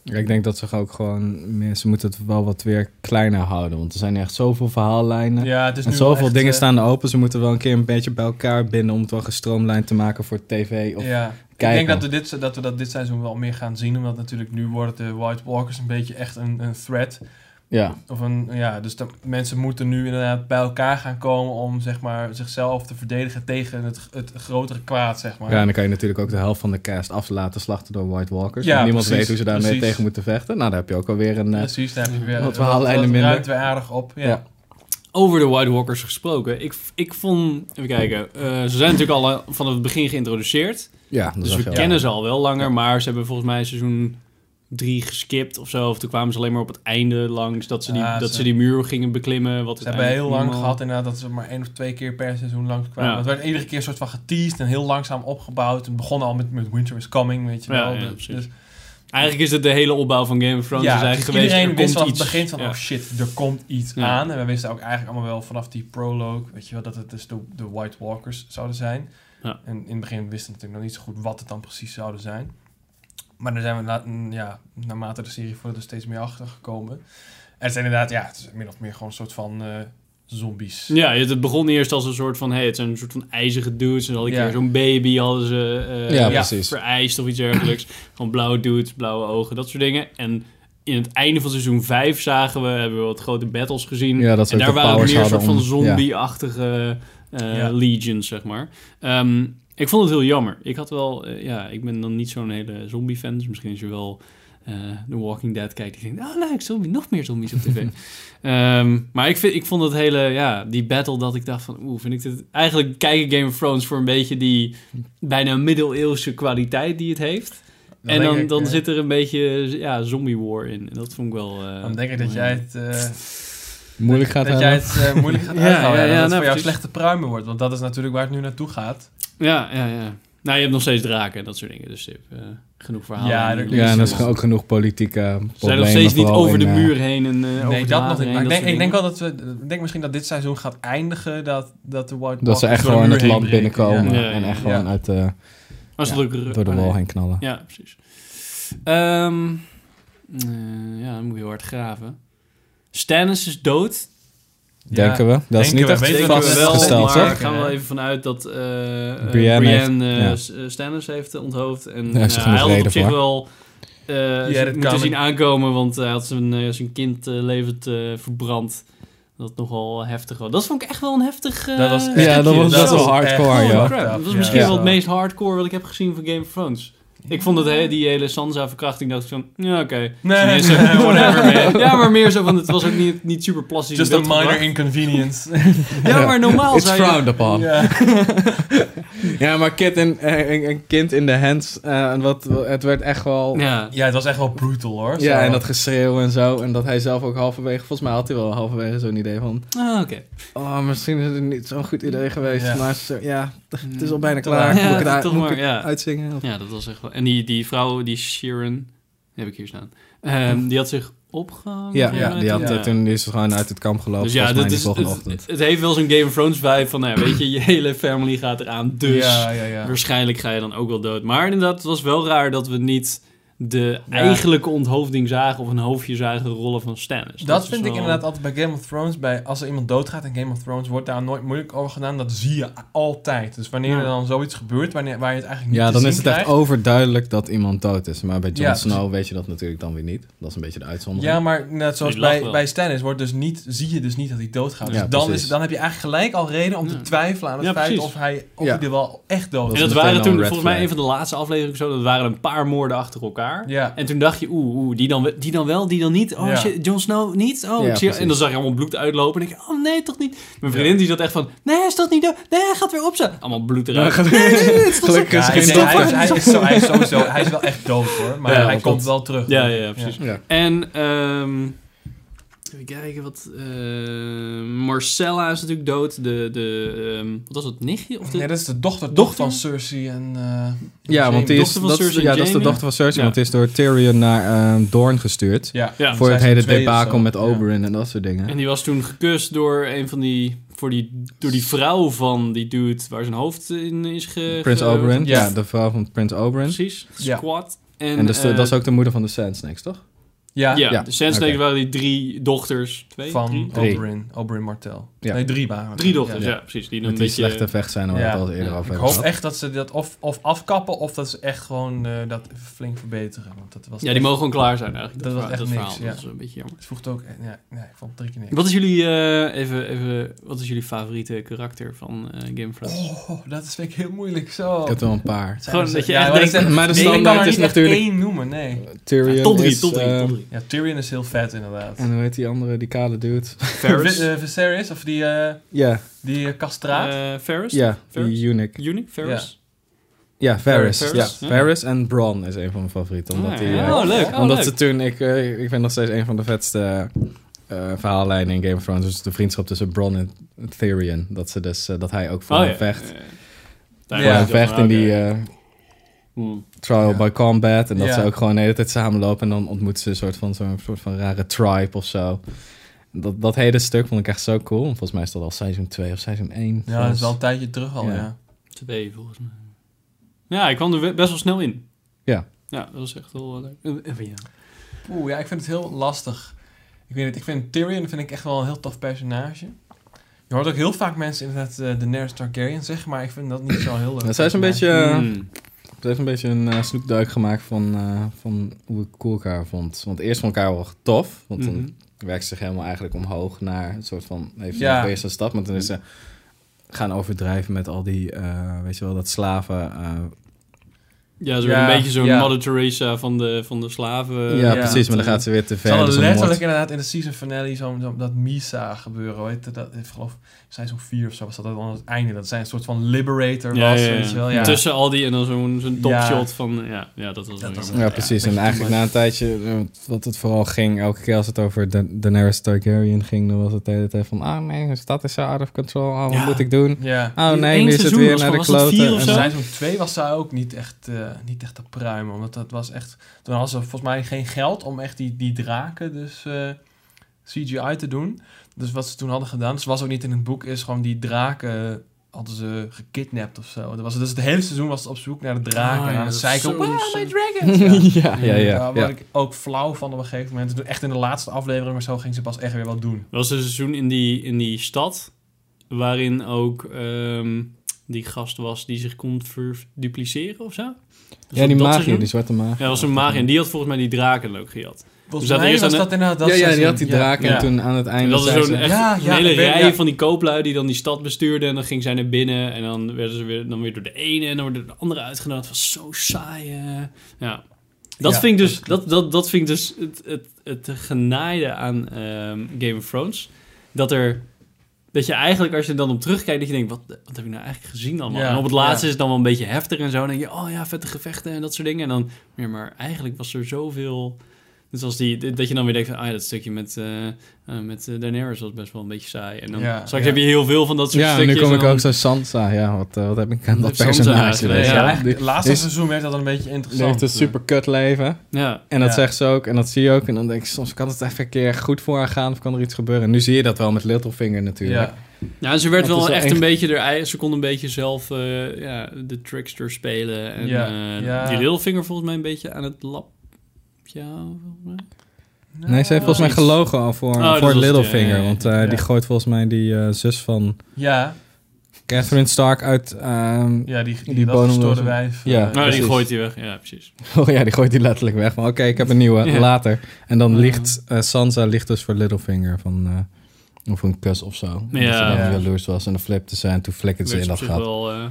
Speaker 3: Ja, ik denk dat ze ook gewoon, meer- ze moeten het wel wat weer kleiner houden, want er zijn echt zoveel verhaallijnen.
Speaker 2: ja, het is
Speaker 3: En
Speaker 2: nu wel
Speaker 3: zoveel
Speaker 2: echt,
Speaker 3: dingen
Speaker 2: eh,
Speaker 3: staan er open, ze moeten wel een keer een beetje bij elkaar binden om het wel gestroomlijnd te maken voor tv. Of...
Speaker 2: Ja, ik
Speaker 3: kijken.
Speaker 2: denk dat we, dit, dat we dat dit seizoen wel meer gaan zien, omdat natuurlijk nu worden de White Walkers een beetje echt een, een threat.
Speaker 3: ja.
Speaker 2: Of een, ja, dus de mensen moeten nu inderdaad bij elkaar gaan komen om zeg maar, zichzelf te verdedigen tegen het, het grotere kwaad, zeg maar.
Speaker 3: Ja, en dan kan je natuurlijk ook de helft van de cast af laten slachten door White Walkers.
Speaker 2: Ja,
Speaker 3: Want niemand
Speaker 2: precies,
Speaker 3: weet hoe ze daarmee
Speaker 2: precies.
Speaker 3: tegen moeten vechten. Nou, daar heb je ook alweer een... eh,
Speaker 2: Precies, daar heb je weer.
Speaker 3: Wat verhaallijnen
Speaker 2: dat
Speaker 3: minder.
Speaker 2: ruimt weer aardig op. Ja.
Speaker 3: Ja.
Speaker 1: Over de White Walkers gesproken. Ik, ik vond... Even kijken. eh, ze zijn natuurlijk al eh, vanaf het begin geïntroduceerd.
Speaker 3: ja, dat
Speaker 1: Dus
Speaker 3: zag
Speaker 1: we
Speaker 3: je al.
Speaker 1: kennen ze al wel langer, maar ze hebben volgens mij seizoen 3 geskipt of zo. Of toen kwamen ze alleen maar op het einde langs dat ze die,
Speaker 2: Ja,
Speaker 1: dat
Speaker 2: ze-
Speaker 1: ze die muur gingen beklimmen. Wat
Speaker 2: Ze hebben heel lang
Speaker 1: uiteindelijk
Speaker 2: gehad inderdaad dat ze maar één of twee keer per seizoen langs kwamen.
Speaker 1: Ja.
Speaker 2: Het werd iedere keer een soort van geteased en heel langzaam opgebouwd. Het begon al met, met Winter is Coming, weet je
Speaker 1: Ja,
Speaker 2: wel.
Speaker 1: ja,
Speaker 2: Dus-
Speaker 1: precies.
Speaker 2: dus
Speaker 1: niemand- Eigenlijk is het de hele opbouw van Game of Thrones. is
Speaker 2: dus
Speaker 1: eigenlijk geweest,
Speaker 2: iedereen
Speaker 1: er
Speaker 2: wist
Speaker 1: komt
Speaker 2: vanaf
Speaker 1: iets.
Speaker 2: het begin van,
Speaker 1: Ja.
Speaker 2: oh shit, er komt iets
Speaker 1: Ja.
Speaker 2: aan. En we wisten ook eigenlijk allemaal wel vanaf die prologue, weet je wel, dat het dus de, de White Walkers zouden zijn.
Speaker 1: Ja.
Speaker 2: En in het begin wisten we natuurlijk nog niet zo goed wat het dan precies zouden zijn. Maar daar zijn we na, mm, ja, naarmate de serie voordat er steeds meer achter gekomen. En het zijn inderdaad, ja, het is min of meer gewoon een soort van eh, zombies.
Speaker 1: Ja, het het begon eerst als een soort van... Hey, het zijn een soort van ijzige dudes. En dan had ik
Speaker 2: Ja.
Speaker 1: keer zo'n baby hadden ze eh,
Speaker 3: Ja,
Speaker 2: ja,
Speaker 3: precies.
Speaker 1: vereist of iets dergelijks. Gewoon blauwe dudes, blauwe ogen, dat soort dingen. En in het einde van seizoen 5 zagen we... hebben we wat grote battles gezien.
Speaker 3: Ja, dat ze
Speaker 1: en
Speaker 3: ook
Speaker 1: daar
Speaker 3: de
Speaker 1: waren ook
Speaker 3: powers
Speaker 1: meer een soort
Speaker 3: hadden
Speaker 1: van
Speaker 3: om- ja.
Speaker 1: zombie-achtige eh,
Speaker 2: Ja.
Speaker 1: legions, zeg maar. Ehm, ik vond het heel jammer. Ik had wel... eh, ja, ik ben dan niet zo'n hele zombie-fan. Dus misschien is je wel... eh, The Walking Dead kijkt. Die denkt, oh leuk, zombie, nog meer zombies op tv. Ehm, maar ik, vind, ik vond het hele, ja, die battle dat ik dacht van, oeh, vind ik dit... Eigenlijk kijk ik Game of Thrones voor een beetje die bijna middeleeuwse kwaliteit die het heeft. en
Speaker 2: denk
Speaker 1: dan,
Speaker 2: ik,
Speaker 1: dan
Speaker 2: eh,
Speaker 1: zit er een beetje, ja, zombie war in. En dat vond ik wel... eh,
Speaker 2: Dan denk ik dat jij het... eh,
Speaker 3: Moeilijk gaat
Speaker 2: dat
Speaker 3: het
Speaker 2: jij het eh, moeilijk gaat
Speaker 1: Ja,
Speaker 2: uithouden.
Speaker 1: ja,
Speaker 2: en
Speaker 1: ja,
Speaker 2: dat
Speaker 1: nou,
Speaker 2: het voor jou
Speaker 1: precies.
Speaker 2: slechte pruimen wordt. Want dat is natuurlijk waar het nu naartoe gaat.
Speaker 1: Ja, ja, ja. Nou, je hebt nog steeds draken en dat soort dingen. Dus je hebt eh, genoeg verhalen.
Speaker 2: Ja,
Speaker 1: en
Speaker 2: dat-
Speaker 1: dingen.
Speaker 3: Ja, en dat is
Speaker 1: Ze
Speaker 3: ook genoeg politieke
Speaker 1: zijn nog
Speaker 3: problemen,
Speaker 1: steeds niet
Speaker 3: vooral
Speaker 1: over de
Speaker 3: in, eh,
Speaker 1: muur heen en eh over
Speaker 2: nee,
Speaker 1: het
Speaker 2: dat nog
Speaker 1: water
Speaker 2: niet.
Speaker 1: heen,
Speaker 2: Maar ik denk,
Speaker 1: dat soort
Speaker 2: ik denk wel dat we... Ik denk misschien dat dit seizoen gaat eindigen dat, dat de White
Speaker 3: eh, Dat ze
Speaker 2: Walkers
Speaker 3: echt
Speaker 2: door de
Speaker 3: gewoon
Speaker 2: muur
Speaker 3: het
Speaker 2: heen
Speaker 3: land
Speaker 2: breken.
Speaker 3: binnenkomen
Speaker 1: Ja, ja,
Speaker 3: en echt
Speaker 2: ja.
Speaker 3: gewoon uit de,
Speaker 1: dingen. Maar ze
Speaker 2: Ja,
Speaker 1: drukken-
Speaker 3: door de
Speaker 1: oh, nee.
Speaker 3: wal heen knallen.
Speaker 1: Ja, precies. Ehm, eh, ja, dan moet je heel hard graven. Stannis is dood.
Speaker 2: Ja.
Speaker 3: Denken we? Dat is
Speaker 2: Denken
Speaker 3: niet
Speaker 2: we,
Speaker 3: echt
Speaker 2: weten we
Speaker 3: vastgesteld,
Speaker 1: maar
Speaker 3: toch?
Speaker 1: we gaan wel even vanuit dat eh eh,
Speaker 3: Brienne
Speaker 1: Brienne,
Speaker 3: heeft-
Speaker 1: eh,
Speaker 3: ja.
Speaker 1: S- eh, Stannis heeft eh, onthoofd. En
Speaker 3: Daar heeft ze
Speaker 1: eh, hij
Speaker 3: genoeg
Speaker 1: had het op
Speaker 3: reden
Speaker 1: zich
Speaker 3: voor.
Speaker 1: wel eh,
Speaker 2: dat
Speaker 1: moeten
Speaker 2: kan.
Speaker 1: zien aankomen, want hij had zijn, eh, zijn kind eh, levend eh, verbrand. Dat nogal heftig was. Dat vond ik echt wel een heftig... eh,
Speaker 2: Dat was echt-
Speaker 3: Ja, dat was- dat
Speaker 1: was
Speaker 2: echt-
Speaker 1: wel
Speaker 3: hardcore,
Speaker 2: holy
Speaker 3: joh.
Speaker 2: crap.
Speaker 1: crap. Dat was
Speaker 2: Ja.
Speaker 1: misschien
Speaker 2: Ja.
Speaker 1: wel het meest hardcore wat ik heb gezien van Game of Thrones. Ik vond dat he- die hele Sansa-verkrachting, dacht ik van, ja, oké.
Speaker 2: Nee,
Speaker 1: Meer zo-
Speaker 2: nee, whatever, man.
Speaker 1: Ja, maar meer zo van, het was ook niet, niet super plastisch.
Speaker 2: Just a
Speaker 1: in
Speaker 2: minor
Speaker 1: beeld gebracht.
Speaker 2: inconvenience.
Speaker 1: Ja, maar normaal
Speaker 3: It's
Speaker 1: zou je...
Speaker 3: frowned upon. Ja,
Speaker 2: ja.
Speaker 3: maar kind in, eh, een, een kind in de hands, eh, en wat, het werd echt wel... Ja,
Speaker 1: Ja.
Speaker 2: ja, het was echt wel brutal hoor. Zo.
Speaker 3: en dat geschreeuw en zo. En dat hij zelf ook halverwege... Volgens mij had hij wel halverwege zo'n idee van...
Speaker 1: Ah, oké.
Speaker 3: Oh, misschien is het niet zo'n goed idee geweest.
Speaker 2: Ja.
Speaker 3: Maar ze- ja, het is al
Speaker 1: Mm.
Speaker 3: bijna
Speaker 2: Te
Speaker 3: klaar.
Speaker 2: laat.
Speaker 1: Ja,
Speaker 3: moet ik het, uit-
Speaker 1: toch
Speaker 3: moet
Speaker 1: maar,
Speaker 3: ik het
Speaker 1: ja.
Speaker 3: uitzingen? Of-
Speaker 1: Ja, dat was echt wel... En die, die vrouw, die Sheeran, die heb ik hier staan. Ehm, die had zich opgehangen.
Speaker 3: Ja,
Speaker 1: volgens
Speaker 3: ja,
Speaker 1: mij,
Speaker 3: die had,
Speaker 2: ja.
Speaker 3: eh, toen is ze gewoon uit het kamp gelopen.
Speaker 1: Dus ja,
Speaker 3: volgens
Speaker 1: dat
Speaker 3: mij
Speaker 1: is,
Speaker 3: de volgende
Speaker 1: het,
Speaker 3: ochtend.
Speaker 1: het heeft wel zo'n Game of Thrones vibe van, nou ja, weet je, je hele family gaat eraan, dus...
Speaker 2: Ja, ja, ja.
Speaker 1: Waarschijnlijk ga je dan ook wel dood. Maar inderdaad, het was wel raar dat we niet de eigenlijke onthoofding zagen of een hoofdje zagen rollen van Stannis.
Speaker 2: Dat,
Speaker 1: is
Speaker 2: vind ik
Speaker 1: wel-
Speaker 2: inderdaad altijd bij Game of Thrones. Bij, als er iemand doodgaat in Game of Thrones, wordt daar nooit moeilijk over gedaan. Dat zie je altijd. Dus wanneer
Speaker 1: Ja.
Speaker 2: er dan zoiets gebeurt, wanneer, waar je het eigenlijk niet
Speaker 3: Ja,
Speaker 2: te
Speaker 3: dan
Speaker 2: zien
Speaker 3: is het echt
Speaker 2: krijgt-
Speaker 3: overduidelijk dat iemand dood is. Maar bij Jon
Speaker 2: Ja,
Speaker 3: Snow weet je dat natuurlijk dan weer niet. Dat is een beetje de uitzondering.
Speaker 2: Ja, maar net zoals
Speaker 1: Die lacht
Speaker 2: bij,
Speaker 1: wel.
Speaker 2: bij Stannis wordt dus niet, zie je dus niet dat hij doodgaat. Dus
Speaker 3: Ja,
Speaker 2: dan,
Speaker 3: precies.
Speaker 2: is, dan heb je eigenlijk gelijk al reden om
Speaker 1: Ja.
Speaker 2: te twijfelen aan het
Speaker 1: Ja,
Speaker 2: feit
Speaker 1: precies.
Speaker 2: of hij, of
Speaker 3: Ja.
Speaker 2: hij er wel echt dood
Speaker 1: En
Speaker 2: is.
Speaker 3: Dat
Speaker 1: dat
Speaker 3: meteen al
Speaker 1: waren
Speaker 3: een
Speaker 1: toen,
Speaker 3: red
Speaker 1: volgens mij,
Speaker 3: flag.
Speaker 1: een van de laatste afleveringen zo. Dat waren een paar moorden achter elkaar.
Speaker 2: Ja.
Speaker 1: En toen dacht je, oeh, oeh die, dan, we- die dan wel, die dan niet. Oh
Speaker 2: Ja.
Speaker 1: shit, Jon Snow niet. Oh,
Speaker 3: Ja,
Speaker 1: ik zie,
Speaker 3: precies.
Speaker 1: en dan zag je allemaal bloed uitlopen. En ik oh nee, toch niet. Mijn
Speaker 2: Ja.
Speaker 1: vriendin die zat echt van, nee, hij is toch niet dood. Nee, hij gaat weer opstaan. Allemaal bloed
Speaker 3: Ja,
Speaker 1: eruit.
Speaker 3: gaat-
Speaker 1: Nee, nee, nee, het is toch zo-
Speaker 3: Gelukkig is
Speaker 2: Ja,
Speaker 3: geen
Speaker 2: ik denk,
Speaker 3: stop.
Speaker 2: hij, is, hij, is zo, hij is sowieso, hij is wel echt dood hoor, maar
Speaker 1: Ja,
Speaker 2: hij
Speaker 3: dat
Speaker 2: komt
Speaker 3: klopt.
Speaker 2: wel terug.
Speaker 1: Ja, ja, ja, precies.
Speaker 3: Ja.
Speaker 1: En ehm even kijken wat. eh, Marcella is natuurlijk dood. De, de ehm, wat was het nichtje of de?
Speaker 2: Nee, dat is de dochter,
Speaker 1: Dochter?
Speaker 2: van Cersei en... eh,
Speaker 3: Ja, want die is,
Speaker 1: Dochter van
Speaker 3: dat, is-
Speaker 1: Cersei en
Speaker 3: ja, dat is de
Speaker 1: Jaime?
Speaker 3: dochter van Cersei,
Speaker 1: Ja.
Speaker 3: want die is door Tyrion naar ehm Dorne gestuurd.
Speaker 2: Ja,
Speaker 1: Ja.
Speaker 3: voor
Speaker 2: zij
Speaker 3: het
Speaker 2: zijn
Speaker 3: hele
Speaker 2: twee of
Speaker 3: debakel
Speaker 2: zo.
Speaker 3: met
Speaker 2: Ja.
Speaker 3: Oberyn en dat soort dingen.
Speaker 1: En die was toen gekust door een van die, voor die, door die vrouw van die dude waar zijn hoofd in is ge.
Speaker 3: Prins
Speaker 1: ge-
Speaker 3: Oberyn,
Speaker 2: ja.
Speaker 3: ja. de vrouw van Prins Oberyn.
Speaker 1: Precies.
Speaker 2: Ja.
Speaker 1: Squad.
Speaker 3: En,
Speaker 1: En,
Speaker 3: dat, is de-
Speaker 1: eh,
Speaker 3: dat is ook de moeder van de Sand Snakes, toch?
Speaker 2: Ja,
Speaker 1: Ja,
Speaker 3: Ja,
Speaker 1: de Sandsnakes
Speaker 3: oké.
Speaker 1: waren die drie dochters. Twee?
Speaker 2: van
Speaker 1: drie?
Speaker 3: Drie.
Speaker 2: Oberyn, Oberyn Martel.
Speaker 3: Ja.
Speaker 2: Nee, drie waren het.
Speaker 1: Drie dochters, ja,
Speaker 3: Ja.
Speaker 1: precies. Die dan
Speaker 3: Met
Speaker 1: een
Speaker 3: die
Speaker 1: beetje.
Speaker 3: slechte vecht zijn waar we
Speaker 2: Ja.
Speaker 3: het al eerder
Speaker 1: Ja.
Speaker 3: over
Speaker 2: Ik
Speaker 3: hebben
Speaker 2: hoop
Speaker 3: gehad.
Speaker 2: echt dat ze dat of, of afkappen of dat ze echt gewoon eh, dat flink verbeteren. Want dat was
Speaker 1: Ja, die
Speaker 2: echt-
Speaker 1: mogen gewoon klaar zijn eigenlijk.
Speaker 2: Dat was echt
Speaker 1: verhaal.
Speaker 2: niks, ja.
Speaker 1: Dat is een beetje jammer.
Speaker 2: Het voegt ook... eh, Ja, nee, ik vond het drie keer niks.
Speaker 1: Wat is jullie, eh, even, even, wat is jullie favoriete karakter van eh, Game of Thrones?
Speaker 2: Oh, dat vind ik heel moeilijk zo.
Speaker 3: Ik heb er wel een paar.
Speaker 2: Zijn
Speaker 1: Gewoon
Speaker 2: er-
Speaker 1: dat je
Speaker 2: ja,
Speaker 1: echt
Speaker 2: maar dat
Speaker 1: denkt-
Speaker 2: is echt-
Speaker 3: Maar de
Speaker 2: nee, ik kan
Speaker 3: standaard
Speaker 2: er
Speaker 3: is
Speaker 2: niet echt
Speaker 3: natuurlijk-
Speaker 2: één noemen, nee.
Speaker 3: Tyrion
Speaker 1: Ja, tot drie,
Speaker 3: is,
Speaker 1: tot drie,
Speaker 3: eh,
Speaker 1: tot drie.
Speaker 2: Ja, Tyrion is heel vet inderdaad.
Speaker 3: En hoe heet die andere, die kale dude?
Speaker 1: Ferris.
Speaker 2: Vi- eh, Viserys, of die, eh
Speaker 3: Ja,
Speaker 2: die eh, kastraat.
Speaker 1: Eh, Ferris?
Speaker 3: ja,
Speaker 1: Varys?
Speaker 3: die eunuch.
Speaker 1: Eunuch? Ferris?
Speaker 3: Ja, Varys.
Speaker 1: Varys, ja.
Speaker 3: Ja, Varys en Bronn is een van mijn favorieten. Omdat
Speaker 1: Ah,
Speaker 3: die,
Speaker 1: ja.
Speaker 3: eh,
Speaker 1: oh, leuk. Oh,
Speaker 3: Omdat
Speaker 1: leuk.
Speaker 3: ze toen, ik, eh, ik vind nog steeds een van de vetste eh, verhaallijnen in Game of Thrones. Dus de vriendschap tussen Bron en Tyrion. Dat, ze dus, eh, dat hij ook voor
Speaker 1: Oh,
Speaker 3: hem
Speaker 1: ja.
Speaker 3: vecht.
Speaker 1: Eh,
Speaker 2: Ja,
Speaker 1: daar
Speaker 3: voor
Speaker 1: is
Speaker 3: hem
Speaker 1: het
Speaker 3: vecht
Speaker 1: over,
Speaker 3: in
Speaker 1: oké.
Speaker 3: die eh,
Speaker 1: Hmm.
Speaker 3: trial
Speaker 2: Ja.
Speaker 3: by combat. En dat
Speaker 2: Ja.
Speaker 3: ze ook gewoon de hele tijd samenlopen. En dan ontmoeten ze een soort van, zo'n soort van rare tribe of zo. Dat, dat hele stuk vond ik echt zo cool. Volgens mij is dat al seizoen 2 of seizoen 1.
Speaker 2: ja, dat is wel een tijdje terug al,
Speaker 3: Ja.
Speaker 2: ja.
Speaker 1: Twee, volgens mij. Ja, ik kwam er we- best wel snel in.
Speaker 3: Ja.
Speaker 1: Ja, dat was echt wel eh, leuk. En van jou?
Speaker 2: Oeh, ja, ik vind het heel lastig. Ik weet het, ik vind Tyrion vind ik echt wel een heel tof personage. Je hoort ook heel vaak mensen inderdaad eh de Nerys Targaryen zeggen, maar ik vind dat niet zo heel leuk.
Speaker 3: Ja, zij is een beetje, eh,
Speaker 1: Mm.
Speaker 3: ze heeft een beetje een eh, snoekduik gemaakt van, eh, van hoe ik cool elkaar vond. Want eerst vond ik haar wel tof, want
Speaker 1: Mhm.
Speaker 3: dan werkt ze zich helemaal eigenlijk omhoog naar een soort van, heeft
Speaker 2: Ja.
Speaker 3: ja. een eerste stap, maar toen is ze gaan overdrijven met al die, eh, weet je wel, dat slaven. eh,
Speaker 1: Ja, ze
Speaker 2: Ja,
Speaker 1: werd een beetje zo'n
Speaker 2: ja.
Speaker 1: Mother Teresa van de, van de slaven. eh,
Speaker 3: ja,
Speaker 2: ja.
Speaker 3: precies, maar dan gaat ze weer te
Speaker 2: Het
Speaker 3: ver.
Speaker 2: zal
Speaker 3: dus dan
Speaker 2: letterlijk
Speaker 3: wordt-
Speaker 2: inderdaad in de season finale zo, zo- dat Misa gebeuren. Weet je, dat ik geloof, zijn zo'n vier of zo, was dat dan aan het einde. Dat zij een soort van liberator
Speaker 1: Ja,
Speaker 2: was,
Speaker 1: ja, ja.
Speaker 2: weet je wel. Ja.
Speaker 1: Tussen al die en dan zo'n zo'n
Speaker 2: Ja.
Speaker 1: topshot van... eh, Ja, ja, dat was
Speaker 2: Dat
Speaker 1: wel
Speaker 2: was
Speaker 1: jammer.
Speaker 3: Ja,
Speaker 2: Ja,
Speaker 3: precies.
Speaker 2: een
Speaker 3: en
Speaker 2: beetje
Speaker 3: eigenlijk na een tijdje, eh, wat het vooral ging, elke keer als het over Da- Daenerys Targaryen ging, dan was het de hele tijd van, ah nee, de stad is zo out of control, ah, wat
Speaker 1: Ja.
Speaker 3: moet ik doen?
Speaker 2: Ja.
Speaker 3: Oh
Speaker 1: Die
Speaker 3: nee,
Speaker 1: één
Speaker 3: nu is het
Speaker 1: seizoen
Speaker 3: weer
Speaker 1: was
Speaker 3: naar de
Speaker 1: van- was dat vier
Speaker 3: kloten.
Speaker 1: of
Speaker 3: En
Speaker 1: zo?
Speaker 2: En
Speaker 3: zij-
Speaker 2: seizoen 2 was zij ook niet echt, eh, niet echt te pruimen. Want dat was echt... Toen hadden ze volgens mij geen geld om echt die, die draken dus eh, CGI te doen. Dus wat ze toen hadden gedaan, zoals ook niet in het boek, is gewoon die draken hadden ze gekidnapt of zo. Dat was, dus het hele seizoen was het op zoek naar de draken.
Speaker 1: Ah,
Speaker 2: en
Speaker 1: ja,
Speaker 2: aan het
Speaker 1: dat
Speaker 2: zeiken,
Speaker 1: is zo-
Speaker 2: wow, my
Speaker 1: zo-
Speaker 2: dragons! Ja.
Speaker 3: ja, ja, ja.
Speaker 2: Daar
Speaker 3: ja.
Speaker 2: word ik ook flauw van op een gegeven moment. Echt in de laatste aflevering of zo ging ze pas echt weer wat doen.
Speaker 1: Er was dus een seizoen in die, in die stad, waarin ook ehm, die gast was die zich kon verdupliceren of zo. Dat was
Speaker 3: Ja, die
Speaker 1: ook dat
Speaker 3: magier,
Speaker 1: seizoen.
Speaker 3: die zwarte magier.
Speaker 1: Ja, dat was een maag en die had volgens mij die draken ook gejat.
Speaker 3: Dus
Speaker 2: Volgens
Speaker 1: zat
Speaker 2: mij
Speaker 1: eerst
Speaker 2: was
Speaker 1: aan de-
Speaker 2: dat inderdaad dat
Speaker 3: ja, ja, die
Speaker 2: seizoen.
Speaker 3: had die
Speaker 2: Ja.
Speaker 3: draak en
Speaker 1: Ja.
Speaker 3: toen aan het
Speaker 1: En
Speaker 3: einde
Speaker 1: dat is
Speaker 3: zei
Speaker 1: zo'n
Speaker 3: ze-
Speaker 1: echt
Speaker 2: Ja,
Speaker 1: een
Speaker 2: ja,
Speaker 1: hele
Speaker 2: ik weet-
Speaker 1: rij
Speaker 2: ja.
Speaker 1: van die kooplui die dan die stad bestuurden. En dan ging zij naar binnen en dan werden ze weer, dan weer door de ene en dan weer door de andere uitgenodigd. Het was zo saai. eh. Ja. Dat,
Speaker 2: Ja,
Speaker 1: vind ik dus,
Speaker 2: dat
Speaker 1: dat, dat, dat vind ik dus het, het, het genaaide aan ehm, Game of Thrones. Dat er... Dat je eigenlijk, als je er dan op terugkijkt, dat je denkt, wat, wat heb ik nou eigenlijk gezien allemaal?
Speaker 2: Ja,
Speaker 1: en op het laatste
Speaker 2: ja.
Speaker 1: is het dan wel een beetje heftig en zo. En dan denk je, oh ja, vette gevechten en dat soort dingen. En dan, ja, maar eigenlijk was er zoveel... Net zoals die, dat je dan weer denkt van, ah ja, dat stukje met, eh, eh, met eh, Daenerys was best wel een beetje saai. En dan
Speaker 2: Ja,
Speaker 1: straks
Speaker 2: ja.
Speaker 1: heb je heel veel van dat soort
Speaker 3: Ja, en nu
Speaker 1: stukjes.
Speaker 3: kom
Speaker 1: en
Speaker 3: ik
Speaker 1: dan-
Speaker 3: ook zo Sansa. Ja, wat, eh, wat heb ik aan dat
Speaker 1: Sansa
Speaker 3: personage?
Speaker 1: eigenlijk,
Speaker 3: weet je
Speaker 1: ja.
Speaker 3: wel?
Speaker 2: eigenlijk
Speaker 3: Die
Speaker 2: het laatste
Speaker 3: is-
Speaker 2: seizoen werd dat een beetje
Speaker 3: die
Speaker 2: interessant.
Speaker 3: heeft een super kut leven.
Speaker 1: Ja,
Speaker 3: En dat
Speaker 2: Ja.
Speaker 3: zegt ze ook. En dat zie je ook. En dan denk ik soms kan het even een keer goed voor haar gaan. Of kan er iets gebeuren. En nu zie je dat wel met Littlefinger natuurlijk.
Speaker 2: Ja.
Speaker 1: ja en ze werd
Speaker 3: Dat is
Speaker 1: wel
Speaker 3: wel
Speaker 1: echt
Speaker 3: echt-
Speaker 1: een beetje, er, ei- ze kon een beetje zelf eh, ja, de trickster spelen. En
Speaker 2: Ja,
Speaker 1: eh,
Speaker 2: ja.
Speaker 1: die Littlefinger volgens mij een beetje aan het lap. Ja, volgens mij.
Speaker 3: Nee, ze heeft
Speaker 2: Nou,
Speaker 3: volgens mij
Speaker 1: iets.
Speaker 3: gelogen al
Speaker 1: Oh,
Speaker 3: voor,
Speaker 1: dat was
Speaker 3: voor
Speaker 1: het, ja,
Speaker 3: Littlefinger.
Speaker 1: ja, ja.
Speaker 3: Want eh,
Speaker 2: Ja.
Speaker 3: die gooit volgens mij die eh, zus van
Speaker 2: Ja,
Speaker 3: Catherine Stark uit... ehm,
Speaker 2: ja die, die,
Speaker 3: Die
Speaker 2: dat
Speaker 3: bodemloze-
Speaker 2: gestoorde wijf.
Speaker 3: Ja.
Speaker 2: eh,
Speaker 1: Nou, die
Speaker 3: precies.
Speaker 1: gooit hij weg. Ja, precies.
Speaker 3: Oh ja, die gooit die letterlijk weg. Maar oké, ik heb een nieuwe,
Speaker 1: Ja.
Speaker 3: later. En dan
Speaker 1: Ja.
Speaker 3: ligt eh, Sansa ligt dus voor Littlefinger van... eh, of een kus of zo. Omdat
Speaker 1: Ja.
Speaker 3: ze dan
Speaker 2: Ja.
Speaker 3: jaloers was en dan flipte ze en toen flikkerde ze
Speaker 1: Werd
Speaker 3: in
Speaker 1: ze op
Speaker 3: dat
Speaker 1: zich
Speaker 3: gat.
Speaker 1: wel... eh,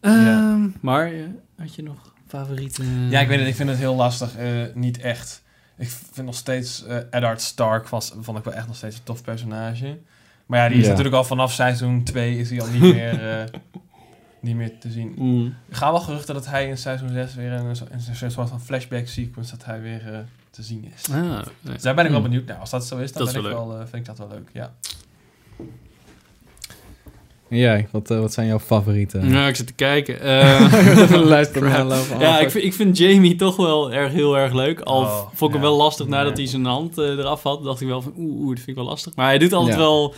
Speaker 2: Ja.
Speaker 1: ehm, maar eh, had je nog favoriete...
Speaker 2: Ja, ik weet het. Ik vind het heel lastig. eh, niet echt. Ik vind nog steeds... eh Eddard Stark was, vond ik wel echt nog steeds een tof personage. Maar ja, die is
Speaker 3: Ja.
Speaker 2: natuurlijk al vanaf seizoen 2 is hij al niet meer, eh, niet meer te zien.
Speaker 1: Mm.
Speaker 2: Er gaan wel geruchten dat hij in seizoen 6 weer in een, zo- in een soort van flashback sequence dat hij weer eh, te zien is.
Speaker 1: Ah, nee.
Speaker 2: Dus daar ben ik wel
Speaker 3: Hmm.
Speaker 2: benieuwd naar. Als dat zo is, dan
Speaker 1: Dat is
Speaker 2: ben ik
Speaker 1: wel
Speaker 2: wel, eh, vind ik dat wel leuk. Ja.
Speaker 3: En jij, wat, eh, wat zijn jouw favorieten?
Speaker 1: Nou, ik zit te kijken. Eh,
Speaker 3: Luister maar
Speaker 1: crap.
Speaker 3: lopen. Oh,
Speaker 1: Ja, ik,
Speaker 3: fuck.
Speaker 1: vind- ik vind Jamie toch wel erg, heel erg leuk. Al
Speaker 2: Oh,
Speaker 1: vond ik hem
Speaker 2: ja.
Speaker 1: wel lastig nadat
Speaker 2: Nee.
Speaker 1: hij zijn hand eh, eraf had. dacht ik wel van, oeh, oeh, dat vind ik wel lastig. Maar hij doet altijd
Speaker 3: Ja.
Speaker 1: wel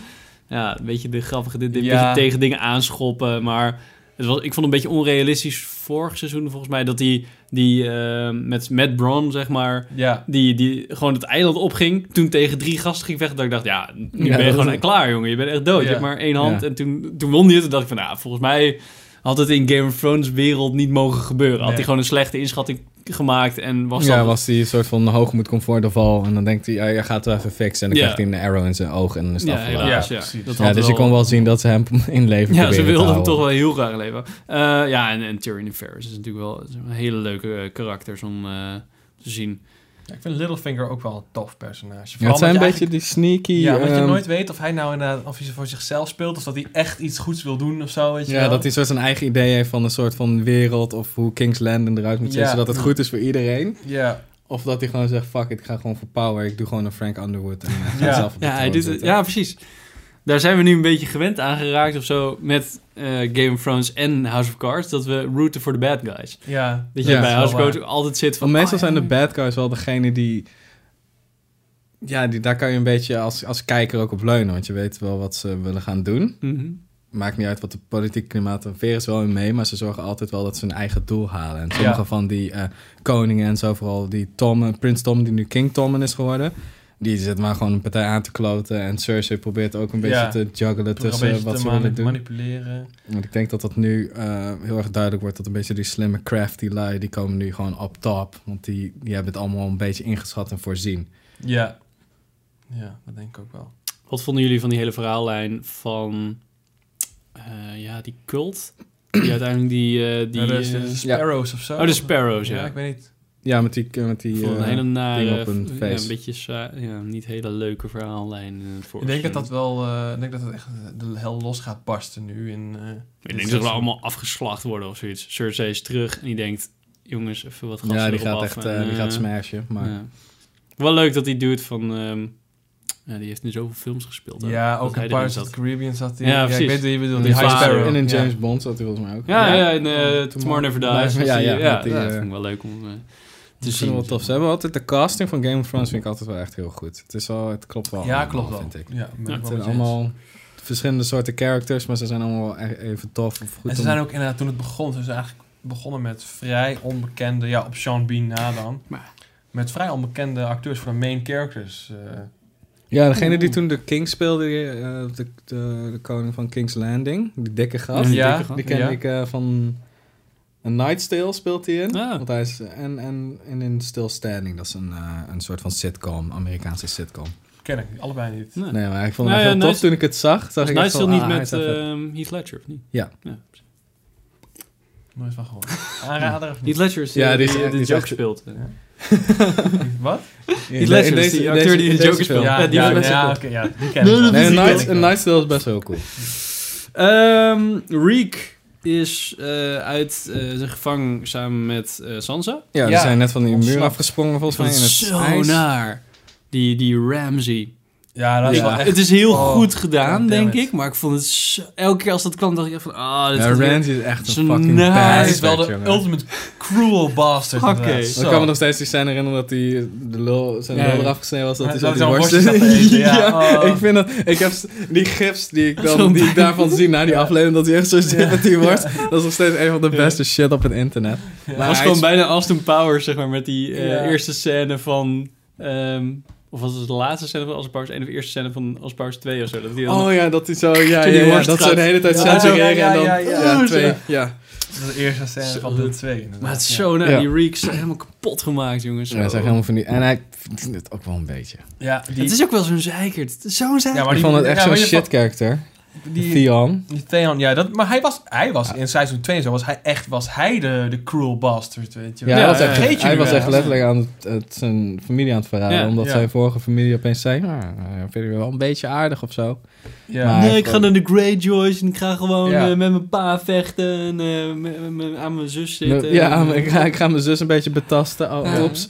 Speaker 1: ja, een beetje de grappige dit, dit
Speaker 2: Ja.
Speaker 1: beetje tegen dingen aanschoppen. Maar het was, ik vond het een beetje onrealistisch vorig seizoen volgens mij. Dat hij die, eh, met, met Bron, zeg maar,
Speaker 2: Ja.
Speaker 1: die, die gewoon het eiland opging. Toen tegen drie gasten ging vechten. Dat ik dacht, ja, nu
Speaker 3: Ja,
Speaker 1: ben je
Speaker 3: dat
Speaker 1: gewoon
Speaker 3: is-
Speaker 1: klaar, jongen. Je bent echt dood. Je
Speaker 2: Ja.
Speaker 1: hebt maar één hand.
Speaker 3: Ja.
Speaker 1: En toen, toen won hij het. Toen dacht ik van, nou, volgens mij had het in Game of Thrones wereld niet mogen gebeuren. Had
Speaker 2: Nee.
Speaker 1: hij gewoon een slechte inschatting gemaakt. En was
Speaker 3: ja,
Speaker 1: dat...
Speaker 3: was die een soort van hoogmoed comfortabel. En dan denkt hij, ah, je gaat het wel even fixen. En dan
Speaker 1: Ja.
Speaker 3: krijgt hij een arrow in zijn oog en dan is het
Speaker 1: ja,
Speaker 3: afgelopen.
Speaker 1: helaas,
Speaker 2: Ja,
Speaker 1: ja.
Speaker 2: precies.
Speaker 1: Dat
Speaker 3: Ja,
Speaker 1: had
Speaker 3: dus je kon wel zien dat ze hem in leven
Speaker 1: Ja, ze
Speaker 3: proberen te
Speaker 1: wilden hem
Speaker 3: houden.
Speaker 1: toch wel heel graag leven. Eh, ja, en, en Tyrion Ferris is natuurlijk wel is een hele leuke eh, karakters om eh, te zien.
Speaker 2: Ja, ik vind Littlefinger ook wel een tof personage.
Speaker 3: Ja, het zijn een
Speaker 2: omdat je
Speaker 3: beetje die sneaky...
Speaker 2: Ja, want je
Speaker 3: ehm,
Speaker 2: nooit weet of hij nou inderdaad, of hij ze voor zichzelf speelt, of dat hij echt iets goeds wil doen of zo, weet je
Speaker 3: Ja,
Speaker 2: wel.
Speaker 3: dat hij soort zijn eigen idee heeft van een soort van wereld of hoe King's Landing eruit moet zien.
Speaker 2: Ja.
Speaker 3: Zodat het goed is voor iedereen.
Speaker 2: Ja,
Speaker 3: Of dat hij gewoon zegt, fuck it, ik ga gewoon voor power. Ik doe gewoon een Frank Underwood en eh, ga
Speaker 2: Ja.
Speaker 3: zelf op de
Speaker 1: Ja, hij
Speaker 3: troon
Speaker 1: doet het,
Speaker 3: zitten.
Speaker 1: ja, precies. Daar zijn we nu een beetje gewend aan geraakt of zo met eh, Game of Thrones en House of Cards. Dat we rooten voor de bad guys.
Speaker 2: ja.
Speaker 1: Dat je
Speaker 3: Ja,
Speaker 1: bij
Speaker 2: is
Speaker 1: House of
Speaker 2: wel
Speaker 1: Cards ook altijd zit van...
Speaker 3: Want meestal
Speaker 1: oh ja,
Speaker 3: zijn de bad guys wel degene die... Ja, die, daar kan je een beetje als, als kijker ook op leunen. Want je weet wel wat ze willen gaan doen.
Speaker 1: mhm.
Speaker 3: maakt niet uit wat het politieke klimaat er weer is wel in mee, maar ze zorgen altijd wel dat ze hun eigen doel halen. En sommige
Speaker 2: Ja.
Speaker 3: van die eh, koningen en zo, vooral die Tom, Prins Tom, die nu King Tommen is geworden, die zit maar gewoon een partij aan te kloten. En Cersei probeert ook een beetje
Speaker 2: Ja.
Speaker 3: te juggelen
Speaker 2: Door een
Speaker 3: tussen
Speaker 2: beetje
Speaker 3: eh, wat
Speaker 2: te
Speaker 3: ze
Speaker 2: mani-
Speaker 3: willen doen.
Speaker 2: manipuleren.
Speaker 3: Want ik denk dat dat nu eh, heel erg duidelijk wordt dat een beetje die slimme crafty lui, die komen nu gewoon op top. Want die, die hebben het allemaal een beetje ingeschat en voorzien.
Speaker 2: Ja. Ja, dat denk ik ook wel.
Speaker 1: Wat vonden jullie van die hele verhaallijn van eh, ja, die cult? Die uiteindelijk die... eh, die
Speaker 2: Die, de,
Speaker 1: eh,
Speaker 2: Sparrows of zo.
Speaker 1: oh, de Sparrows, ja.
Speaker 2: Ja, ik weet niet.
Speaker 3: Ja, met die... Met die
Speaker 1: Ik vond het een
Speaker 3: eh,
Speaker 1: hele nare,
Speaker 3: op een
Speaker 1: ja,
Speaker 3: feest.
Speaker 1: een beetje saai- ja, niet hele leuke verhaallijn. eh, voor
Speaker 2: Ik denk dat
Speaker 1: ze.
Speaker 2: dat wel... eh, ik denk dat het echt de hel los gaat barsten nu. In, eh,
Speaker 1: Ik denk dat we allemaal afgeslacht worden of zoiets. Cersei is terug en die denkt... Jongens, even wat gas
Speaker 3: ja, die
Speaker 1: erop
Speaker 3: gaat
Speaker 1: af
Speaker 3: echt
Speaker 1: en,
Speaker 3: eh, die
Speaker 1: eh,
Speaker 3: gaat smashen. Maar
Speaker 1: ja. Wel leuk dat die dude van... ehm, ja, die heeft nu zoveel films gespeeld. hè,
Speaker 2: Ja,
Speaker 1: dat
Speaker 2: ook
Speaker 1: hij erin
Speaker 2: in Pirates
Speaker 1: zat.
Speaker 2: of the Caribbean zat hij.
Speaker 1: Ja,
Speaker 2: Ja, ik
Speaker 1: precies.
Speaker 2: weet wie je bedoelt.
Speaker 3: En
Speaker 2: Die
Speaker 3: in
Speaker 2: High
Speaker 1: vader-
Speaker 2: Sparrow.
Speaker 3: En in
Speaker 2: Ja.
Speaker 3: James Bond zat hij volgens mij ook.
Speaker 1: Ja, ja, en eh, Tomorrow Never Dies.
Speaker 3: Ja, ja,
Speaker 1: ja,
Speaker 3: met die,
Speaker 1: ja,
Speaker 3: eh,
Speaker 1: dat vond ik wel leuk om eh, te
Speaker 3: Dat vind
Speaker 1: zien.
Speaker 3: ik wel tof. Ze hebben altijd de casting van Game of Thrones vind ik altijd wel echt heel goed. Het, is wel, het klopt wel.
Speaker 2: Ja,
Speaker 3: allemaal,
Speaker 2: klopt wel.
Speaker 3: Vind ik.
Speaker 2: Ja, ben ik wel
Speaker 1: Het
Speaker 3: Het
Speaker 2: met
Speaker 3: zijn
Speaker 2: je eens.
Speaker 3: allemaal verschillende soorten characters, maar ze zijn allemaal wel e- even tof. Of goed
Speaker 2: En ze
Speaker 3: om-
Speaker 2: zijn ook inderdaad, toen het begon, ze zijn eigenlijk begonnen met vrij onbekende, ja, op Sean Bean na dan.
Speaker 1: Maar-
Speaker 2: Met vrij onbekende acteurs voor de main characters. eh.
Speaker 3: Ja, degene die toen de King speelde, eh, de, de, de koning van King's Landing, Hmm, die dikke gast.
Speaker 1: Ja,
Speaker 2: ja,
Speaker 1: dikke
Speaker 3: Die ken
Speaker 2: ja.
Speaker 3: ik eh, van een Night's Tale speelt hij in.
Speaker 1: Ah.
Speaker 3: Want hij is, en, en, en in Still Standing, dat is een, eh, een soort van sitcom, Amerikaanse sitcom.
Speaker 2: Ken ik allebei niet.
Speaker 1: Nee.
Speaker 3: Nee, maar ik vond
Speaker 1: Nou ja,
Speaker 3: het heel tof
Speaker 1: Night's-
Speaker 3: toen ik het zag. Zag
Speaker 1: Was
Speaker 3: ik
Speaker 1: Night
Speaker 3: echt
Speaker 1: Still
Speaker 3: van,
Speaker 1: niet
Speaker 3: ah, hij is
Speaker 1: met
Speaker 3: even-
Speaker 1: ehm, Heath Ledger, of niet?
Speaker 3: Ja.
Speaker 1: precies.
Speaker 2: Nooit van gehoord. Aanrader of
Speaker 1: Heath
Speaker 2: niet?
Speaker 1: Ledger is die,
Speaker 3: Ja, die
Speaker 1: die, eh,
Speaker 3: is- die
Speaker 1: de
Speaker 3: is
Speaker 1: joke
Speaker 3: echt-
Speaker 1: speelt.
Speaker 2: Ja. Wat?
Speaker 1: Heath Ledger is die acteur die de Joker speelt. Ja,
Speaker 2: Ja,
Speaker 1: die
Speaker 2: ja,
Speaker 1: mensen-
Speaker 2: ja, oké, ja, die ken ik
Speaker 1: Nee,
Speaker 3: Nee,
Speaker 2: wel.
Speaker 1: die ken
Speaker 3: Night,
Speaker 1: ik
Speaker 3: een Night's Tale is best wel cool.
Speaker 1: Ehm, Reek is eh, uit eh, de gevangen samen met eh, Sansa.
Speaker 3: Ja, die
Speaker 2: Ja.
Speaker 3: zijn net van die muur
Speaker 2: Ontsnapt.
Speaker 3: afgesprongen volgens mij.
Speaker 1: Dat
Speaker 3: in het
Speaker 1: is zo
Speaker 3: ijs.
Speaker 1: naar. Die, die Ramsey.
Speaker 2: Ja, dat is
Speaker 3: Ja.
Speaker 2: wel echt...
Speaker 1: Dus Het is heel
Speaker 2: oh,
Speaker 1: goed gedaan,
Speaker 2: damn
Speaker 1: denk
Speaker 2: it.
Speaker 1: ik. Maar ik vond het zo... Elke keer als dat kwam, dacht ik echt van... Ah, dit
Speaker 3: Ja,
Speaker 1: gaat weer-
Speaker 3: Ramsey is echt
Speaker 1: Zo'n
Speaker 3: een fucking
Speaker 1: naar-
Speaker 3: bad.
Speaker 2: Hij is wel de
Speaker 3: jongen.
Speaker 2: ultimate cruel bastard.
Speaker 1: Oké.
Speaker 2: inderdaad.
Speaker 1: Dat
Speaker 3: Want Ik
Speaker 2: Zo.
Speaker 3: kan me nog steeds die scène herinneren dat die de lul, zijn
Speaker 1: Ja,
Speaker 3: lul
Speaker 1: ja.
Speaker 3: eraf gesneden was. Dat
Speaker 2: Ja,
Speaker 3: hij zo
Speaker 2: dat
Speaker 3: die
Speaker 2: hij
Speaker 3: worst
Speaker 2: zo'n worstje zat te eten, ja. Oh.
Speaker 3: ik vind dat... Ik heb s- die gifs die ik, dan,
Speaker 1: Zo'n
Speaker 3: die ik
Speaker 1: pijn.
Speaker 3: daarvan zie na die aflevering, dat hij echt zo zit met die worst. Dat is nog steeds een van de beste shit op het internet.
Speaker 1: Het was
Speaker 3: hij
Speaker 1: gewoon
Speaker 3: is-
Speaker 1: bijna Austin Powers, zeg maar, met die eh,
Speaker 2: Ja.
Speaker 1: eerste scène van... ehm, of was het de laatste scène van Austin Powers 1 of de eerste scène van Austin Powers 2 of zo? Dat die dan
Speaker 3: Oh ja, dat hij zo... Ja,
Speaker 1: Toen die
Speaker 3: ja, ja,
Speaker 1: worst
Speaker 3: dat ze
Speaker 1: gaat.
Speaker 3: de hele tijd
Speaker 2: Ja,
Speaker 3: censureren
Speaker 2: ja, ja, ja,
Speaker 3: en dan...
Speaker 2: ja.
Speaker 3: Ja,
Speaker 1: Oh,
Speaker 3: twee.
Speaker 1: zo.
Speaker 3: Ja.
Speaker 2: Dat is de eerste scène
Speaker 1: Zo.
Speaker 2: van deel 2. inderdaad.
Speaker 1: Maar het is
Speaker 2: Ja.
Speaker 1: zo naar
Speaker 3: Ja.
Speaker 1: die reeks zijn helemaal kapot gemaakt, jongens.
Speaker 3: Ja, hij
Speaker 1: Zo.
Speaker 3: zegt helemaal van die... En hij vindt het ook wel een beetje.
Speaker 2: Ja, die...
Speaker 1: Het is ook wel zo'n zeikert. Het is Zo'n zeikert.
Speaker 2: Ja, maar
Speaker 3: ik
Speaker 2: die-
Speaker 3: vond het echt
Speaker 2: ja,
Speaker 3: zo'n
Speaker 2: maar je
Speaker 3: shit character.
Speaker 2: vond- die-
Speaker 3: Theon.
Speaker 2: Die Theon, ja, dat, maar hij was, hij was in seizoen 2 en zo, was hij echt, was hij de, de cruel bastard, weet je
Speaker 3: Ja,
Speaker 2: wel.
Speaker 3: hij
Speaker 1: Ja,
Speaker 3: was
Speaker 1: ja,
Speaker 3: echt,
Speaker 1: ja.
Speaker 2: Vergeet je
Speaker 3: hij
Speaker 2: nu
Speaker 3: was
Speaker 2: wel.
Speaker 3: echt letterlijk aan het, het zijn familie aan het verraden.
Speaker 1: Ja,
Speaker 3: omdat
Speaker 2: ja.
Speaker 3: zijn vorige familie opeens zei... Nou, eh, vind je wel een beetje aardig of zo.
Speaker 2: Ja.
Speaker 3: Maar-
Speaker 1: nee, ik ga naar de Greyjoys en ik ga gewoon
Speaker 2: Ja.
Speaker 1: eh, met mijn pa vechten en eh, met- met- met- aan mijn zus zitten.
Speaker 3: Nou, Ja, maar ik ga, ik ga mijn zus een beetje betasten. Oh,
Speaker 2: Ja.
Speaker 3: oeps.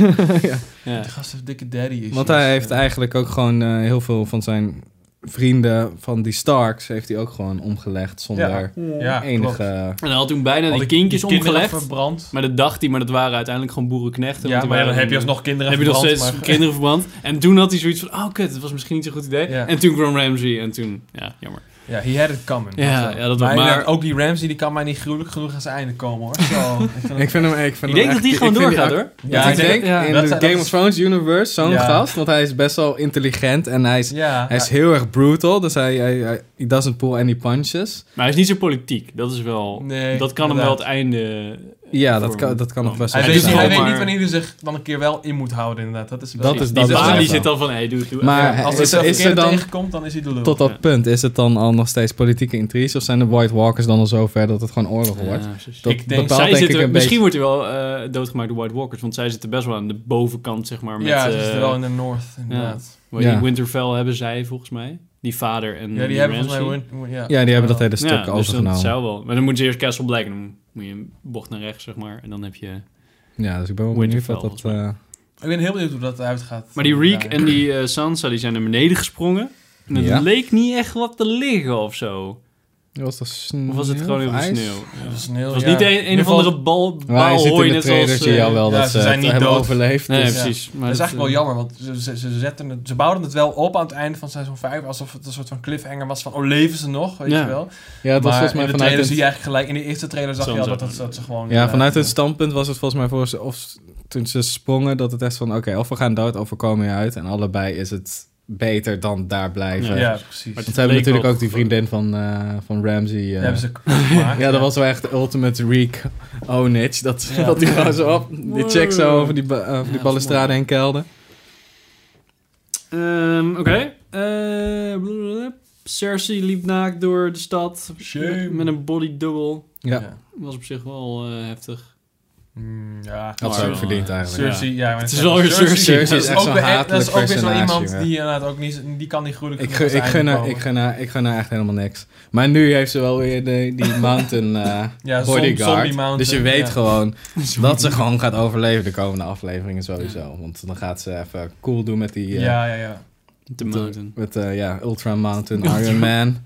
Speaker 3: ja.
Speaker 1: Ja.
Speaker 2: De gast heeft dikke daddy issues.
Speaker 3: Want hij heeft
Speaker 2: Ja.
Speaker 3: eigenlijk ook gewoon eh, heel veel van zijn vrienden... van die Starks heeft hij ook gewoon omgelegd zonder
Speaker 2: Ja, klopt.
Speaker 3: enige...
Speaker 1: En hij had toen bijna
Speaker 2: Al
Speaker 1: die
Speaker 2: die
Speaker 1: kindjes
Speaker 2: kinderen
Speaker 1: omgelegd.
Speaker 2: verbrand.
Speaker 1: Maar dat dacht hij, maar dat waren uiteindelijk gewoon boerenknechten. want
Speaker 2: Ja,
Speaker 1: die
Speaker 2: maar ja, dan
Speaker 1: waren-
Speaker 2: heb je alsnog kinderen
Speaker 1: heb je nog
Speaker 2: verbrand,
Speaker 1: steeds
Speaker 2: maar-
Speaker 1: kinderen verbrand. En toen had hij zoiets van, oh kut, dat was misschien niet zo'n goed idee.
Speaker 2: Ja.
Speaker 1: En toen kwam Ramsey en toen, ja, jammer.
Speaker 2: Ja, he had it coming.
Speaker 1: Ja,
Speaker 2: Zo.
Speaker 1: ja, dat
Speaker 2: maar,
Speaker 1: maar-
Speaker 2: inderdaad, ook die Ramsey, die kan mij niet gruwelijk genoeg aan zijn einde komen, hoor. Zo,
Speaker 3: Ik vind hem... Ik, vind
Speaker 1: Ik
Speaker 3: hem
Speaker 1: denk dat
Speaker 3: echt-
Speaker 1: die gewoon
Speaker 3: ik vind
Speaker 1: doorgaat,
Speaker 3: act-
Speaker 1: hoor.
Speaker 3: Ja,
Speaker 2: Ja,
Speaker 3: ik
Speaker 2: ik
Speaker 3: denk
Speaker 1: denk-
Speaker 3: in
Speaker 2: dat
Speaker 3: de
Speaker 2: zijn-
Speaker 3: Game
Speaker 2: dat
Speaker 3: of
Speaker 2: is-
Speaker 3: Thrones universe zo'n
Speaker 2: Ja.
Speaker 3: gast, want hij is best wel intelligent en hij is
Speaker 2: ja,
Speaker 3: Hij is heel erg brutal, dus hij, hij, hij he doesn't pull any punches.
Speaker 1: Maar hij is niet zo politiek, dat is wel...
Speaker 2: Nee,
Speaker 1: dat kan hem wel
Speaker 2: inderdaad.
Speaker 1: het einde...
Speaker 3: Ja, dat
Speaker 1: vormen. Oh.
Speaker 3: kan, dat kan nog best
Speaker 2: hij
Speaker 1: Hij
Speaker 3: wel
Speaker 2: weet,
Speaker 1: doet
Speaker 2: niet-
Speaker 1: het
Speaker 2: hij
Speaker 3: zijn.
Speaker 1: wel,
Speaker 2: weet
Speaker 1: maar-
Speaker 2: niet wanneer hij zich dan een keer wel in moet houden, inderdaad. Dat is wel
Speaker 3: Dat
Speaker 2: iets.
Speaker 3: is-
Speaker 1: Die
Speaker 3: dat
Speaker 1: Bali
Speaker 3: is
Speaker 1: zit
Speaker 3: wel.
Speaker 1: dan van, hey, doe, doe.
Speaker 3: Maar
Speaker 2: Als hij
Speaker 3: is,
Speaker 2: het
Speaker 3: is er
Speaker 2: verkeerde
Speaker 3: dan,
Speaker 2: tegenkomt, dan is hij de lul.
Speaker 3: tot
Speaker 1: Ja.
Speaker 3: dat punt, is het dan al nog steeds politieke intriges? Of zijn de White Walkers dan al zover dat het gewoon oorlog
Speaker 1: Ja,
Speaker 3: wordt?
Speaker 1: precies.
Speaker 3: Dat
Speaker 2: Ik denk-
Speaker 3: bepaalt
Speaker 1: zij
Speaker 3: denk
Speaker 1: zitten,
Speaker 3: ik een
Speaker 1: misschien
Speaker 3: beetje...
Speaker 1: wordt hij wel eh, doodgemaakt door White Walkers, want zij zitten best wel aan de bovenkant, zeg maar. Met,
Speaker 2: Ja, ze
Speaker 1: eh,
Speaker 2: zitten wel in de North, inderdaad.
Speaker 1: hoe heet die
Speaker 3: Ja.
Speaker 1: Winterfell hebben zij volgens mij. Die vader en
Speaker 2: Ja, die hebben volgens
Speaker 1: Ramsay.
Speaker 2: mij... win- win- Ja,
Speaker 3: Ja, die hebben dat
Speaker 2: Ja.
Speaker 3: hele stuk
Speaker 1: Ja, dus dat
Speaker 3: overgenomen.
Speaker 1: zou wel. Maar dan moeten ze eerst Castle Black en dan moet je een bocht naar rechts, zeg maar. En dan heb je...
Speaker 3: Ja, dus ik ben wel benieuwd
Speaker 1: Winterfell,
Speaker 3: wat dat...
Speaker 1: volgens
Speaker 3: eh,
Speaker 2: Ik ben heel benieuwd hoe dat uitgaat.
Speaker 1: Maar die Reek
Speaker 2: Ja.
Speaker 1: en die eh, Sansa, die zijn naar beneden gesprongen. En het
Speaker 3: Ja.
Speaker 1: leek niet echt wat te liggen of zo.
Speaker 3: Was dat sneeuw?
Speaker 1: Of was het gewoon in
Speaker 3: of
Speaker 1: de
Speaker 3: ijs?
Speaker 1: sneeuw? Ja.
Speaker 2: Dat is een heel
Speaker 1: Het was
Speaker 2: ja,
Speaker 1: niet
Speaker 2: in
Speaker 1: een, een
Speaker 2: ieder
Speaker 1: of
Speaker 2: geval-
Speaker 1: andere bal,
Speaker 3: Oh, Maar je
Speaker 1: baal
Speaker 3: ziet
Speaker 1: hooi,
Speaker 3: in het
Speaker 1: net zoals...
Speaker 3: trailertje
Speaker 1: eh,
Speaker 3: jou wel
Speaker 2: ja,
Speaker 3: dat
Speaker 2: ze
Speaker 3: ze,
Speaker 2: zijn
Speaker 3: het
Speaker 2: niet
Speaker 3: hebben
Speaker 2: dood.
Speaker 3: overleefd.
Speaker 1: Nee,
Speaker 3: dus-
Speaker 2: ja.
Speaker 1: precies. Maar
Speaker 2: Dat is
Speaker 1: het,
Speaker 2: eigenlijk
Speaker 1: eh,
Speaker 2: wel jammer, want ze, ze, ze, zetten het, ze bouwden het wel op aan het einde van seizoen 5, alsof het een soort van cliffhanger was van, oh, leven ze nog, weet
Speaker 1: Ja.
Speaker 2: je wel.
Speaker 3: Ja, dat was
Speaker 2: maar
Speaker 3: volgens mij
Speaker 2: in de
Speaker 3: vanuit
Speaker 2: trailer
Speaker 3: het,
Speaker 2: zie je eigenlijk gelijk, in de eerste trailer zag je al
Speaker 1: Soms
Speaker 2: dat,
Speaker 1: ook.
Speaker 2: dat, dat ze gewoon...
Speaker 3: ja,
Speaker 2: eh,
Speaker 3: vanuit het standpunt was het volgens mij voor ze, of toen ze sprongen, dat het echt van, oké, of we gaan dood of we komen hier uit. En allebei is het beter dan daar blijven.
Speaker 1: Ja.
Speaker 2: Ja, precies.
Speaker 1: Maar het
Speaker 2: Maar
Speaker 3: Want ze hebben
Speaker 1: leek
Speaker 3: natuurlijk
Speaker 1: wel-
Speaker 3: ook die vriendin van, eh, van Ramsey. eh,
Speaker 2: hebben ze kapot gemaakt.
Speaker 3: ja, dat was wel echt de ultimate reek ownage. Dat,
Speaker 2: Ja.
Speaker 3: dat die gewoon zo op, die check zo over die, ba- eh, over die
Speaker 1: Ja,
Speaker 3: balustrade heen kelder.
Speaker 1: Ehm, Oké. Eh, blablabla. Cersei liep naakt door de stad.
Speaker 2: Shame.
Speaker 1: Met een bodydouble.
Speaker 3: Ja,
Speaker 2: Ja.
Speaker 1: Was op zich wel eh, heftig.
Speaker 2: Mm, ja.
Speaker 3: had ze
Speaker 1: Maar-
Speaker 3: ook verdiend eigenlijk.
Speaker 2: Cersei, ja. maar
Speaker 1: Het
Speaker 2: ik
Speaker 1: is
Speaker 2: zeg
Speaker 1: wel weer Cersei.
Speaker 3: Cersei is
Speaker 2: dat
Speaker 3: echt
Speaker 2: ook
Speaker 3: zo'n
Speaker 2: weer- Dat
Speaker 3: hatelijk
Speaker 2: is ook weer zo
Speaker 3: personage,
Speaker 2: iemand
Speaker 3: jongen.
Speaker 2: die inderdaad ook niet, die kan niet gruwelijk
Speaker 3: Ik,
Speaker 2: genoeg
Speaker 3: gun- ik,
Speaker 2: aan het
Speaker 3: gun
Speaker 2: einde
Speaker 3: haar,
Speaker 2: komen.
Speaker 3: ik, gun haar, ik gun haar echt helemaal niks. Maar nu heeft ze wel weer de, die mountain eh,
Speaker 2: Ja, zom-
Speaker 3: bodyguard.
Speaker 2: zombie mountain,
Speaker 3: dus je weet
Speaker 2: ja.
Speaker 3: gewoon dat ze gewoon gaat overleven de komende afleveringen sowieso. Want dan gaat ze even cool doen met die... eh,
Speaker 2: Ja, ja, ja.
Speaker 1: De mountain.
Speaker 3: Met eh, ja, Ultra Mountain, Iron Man.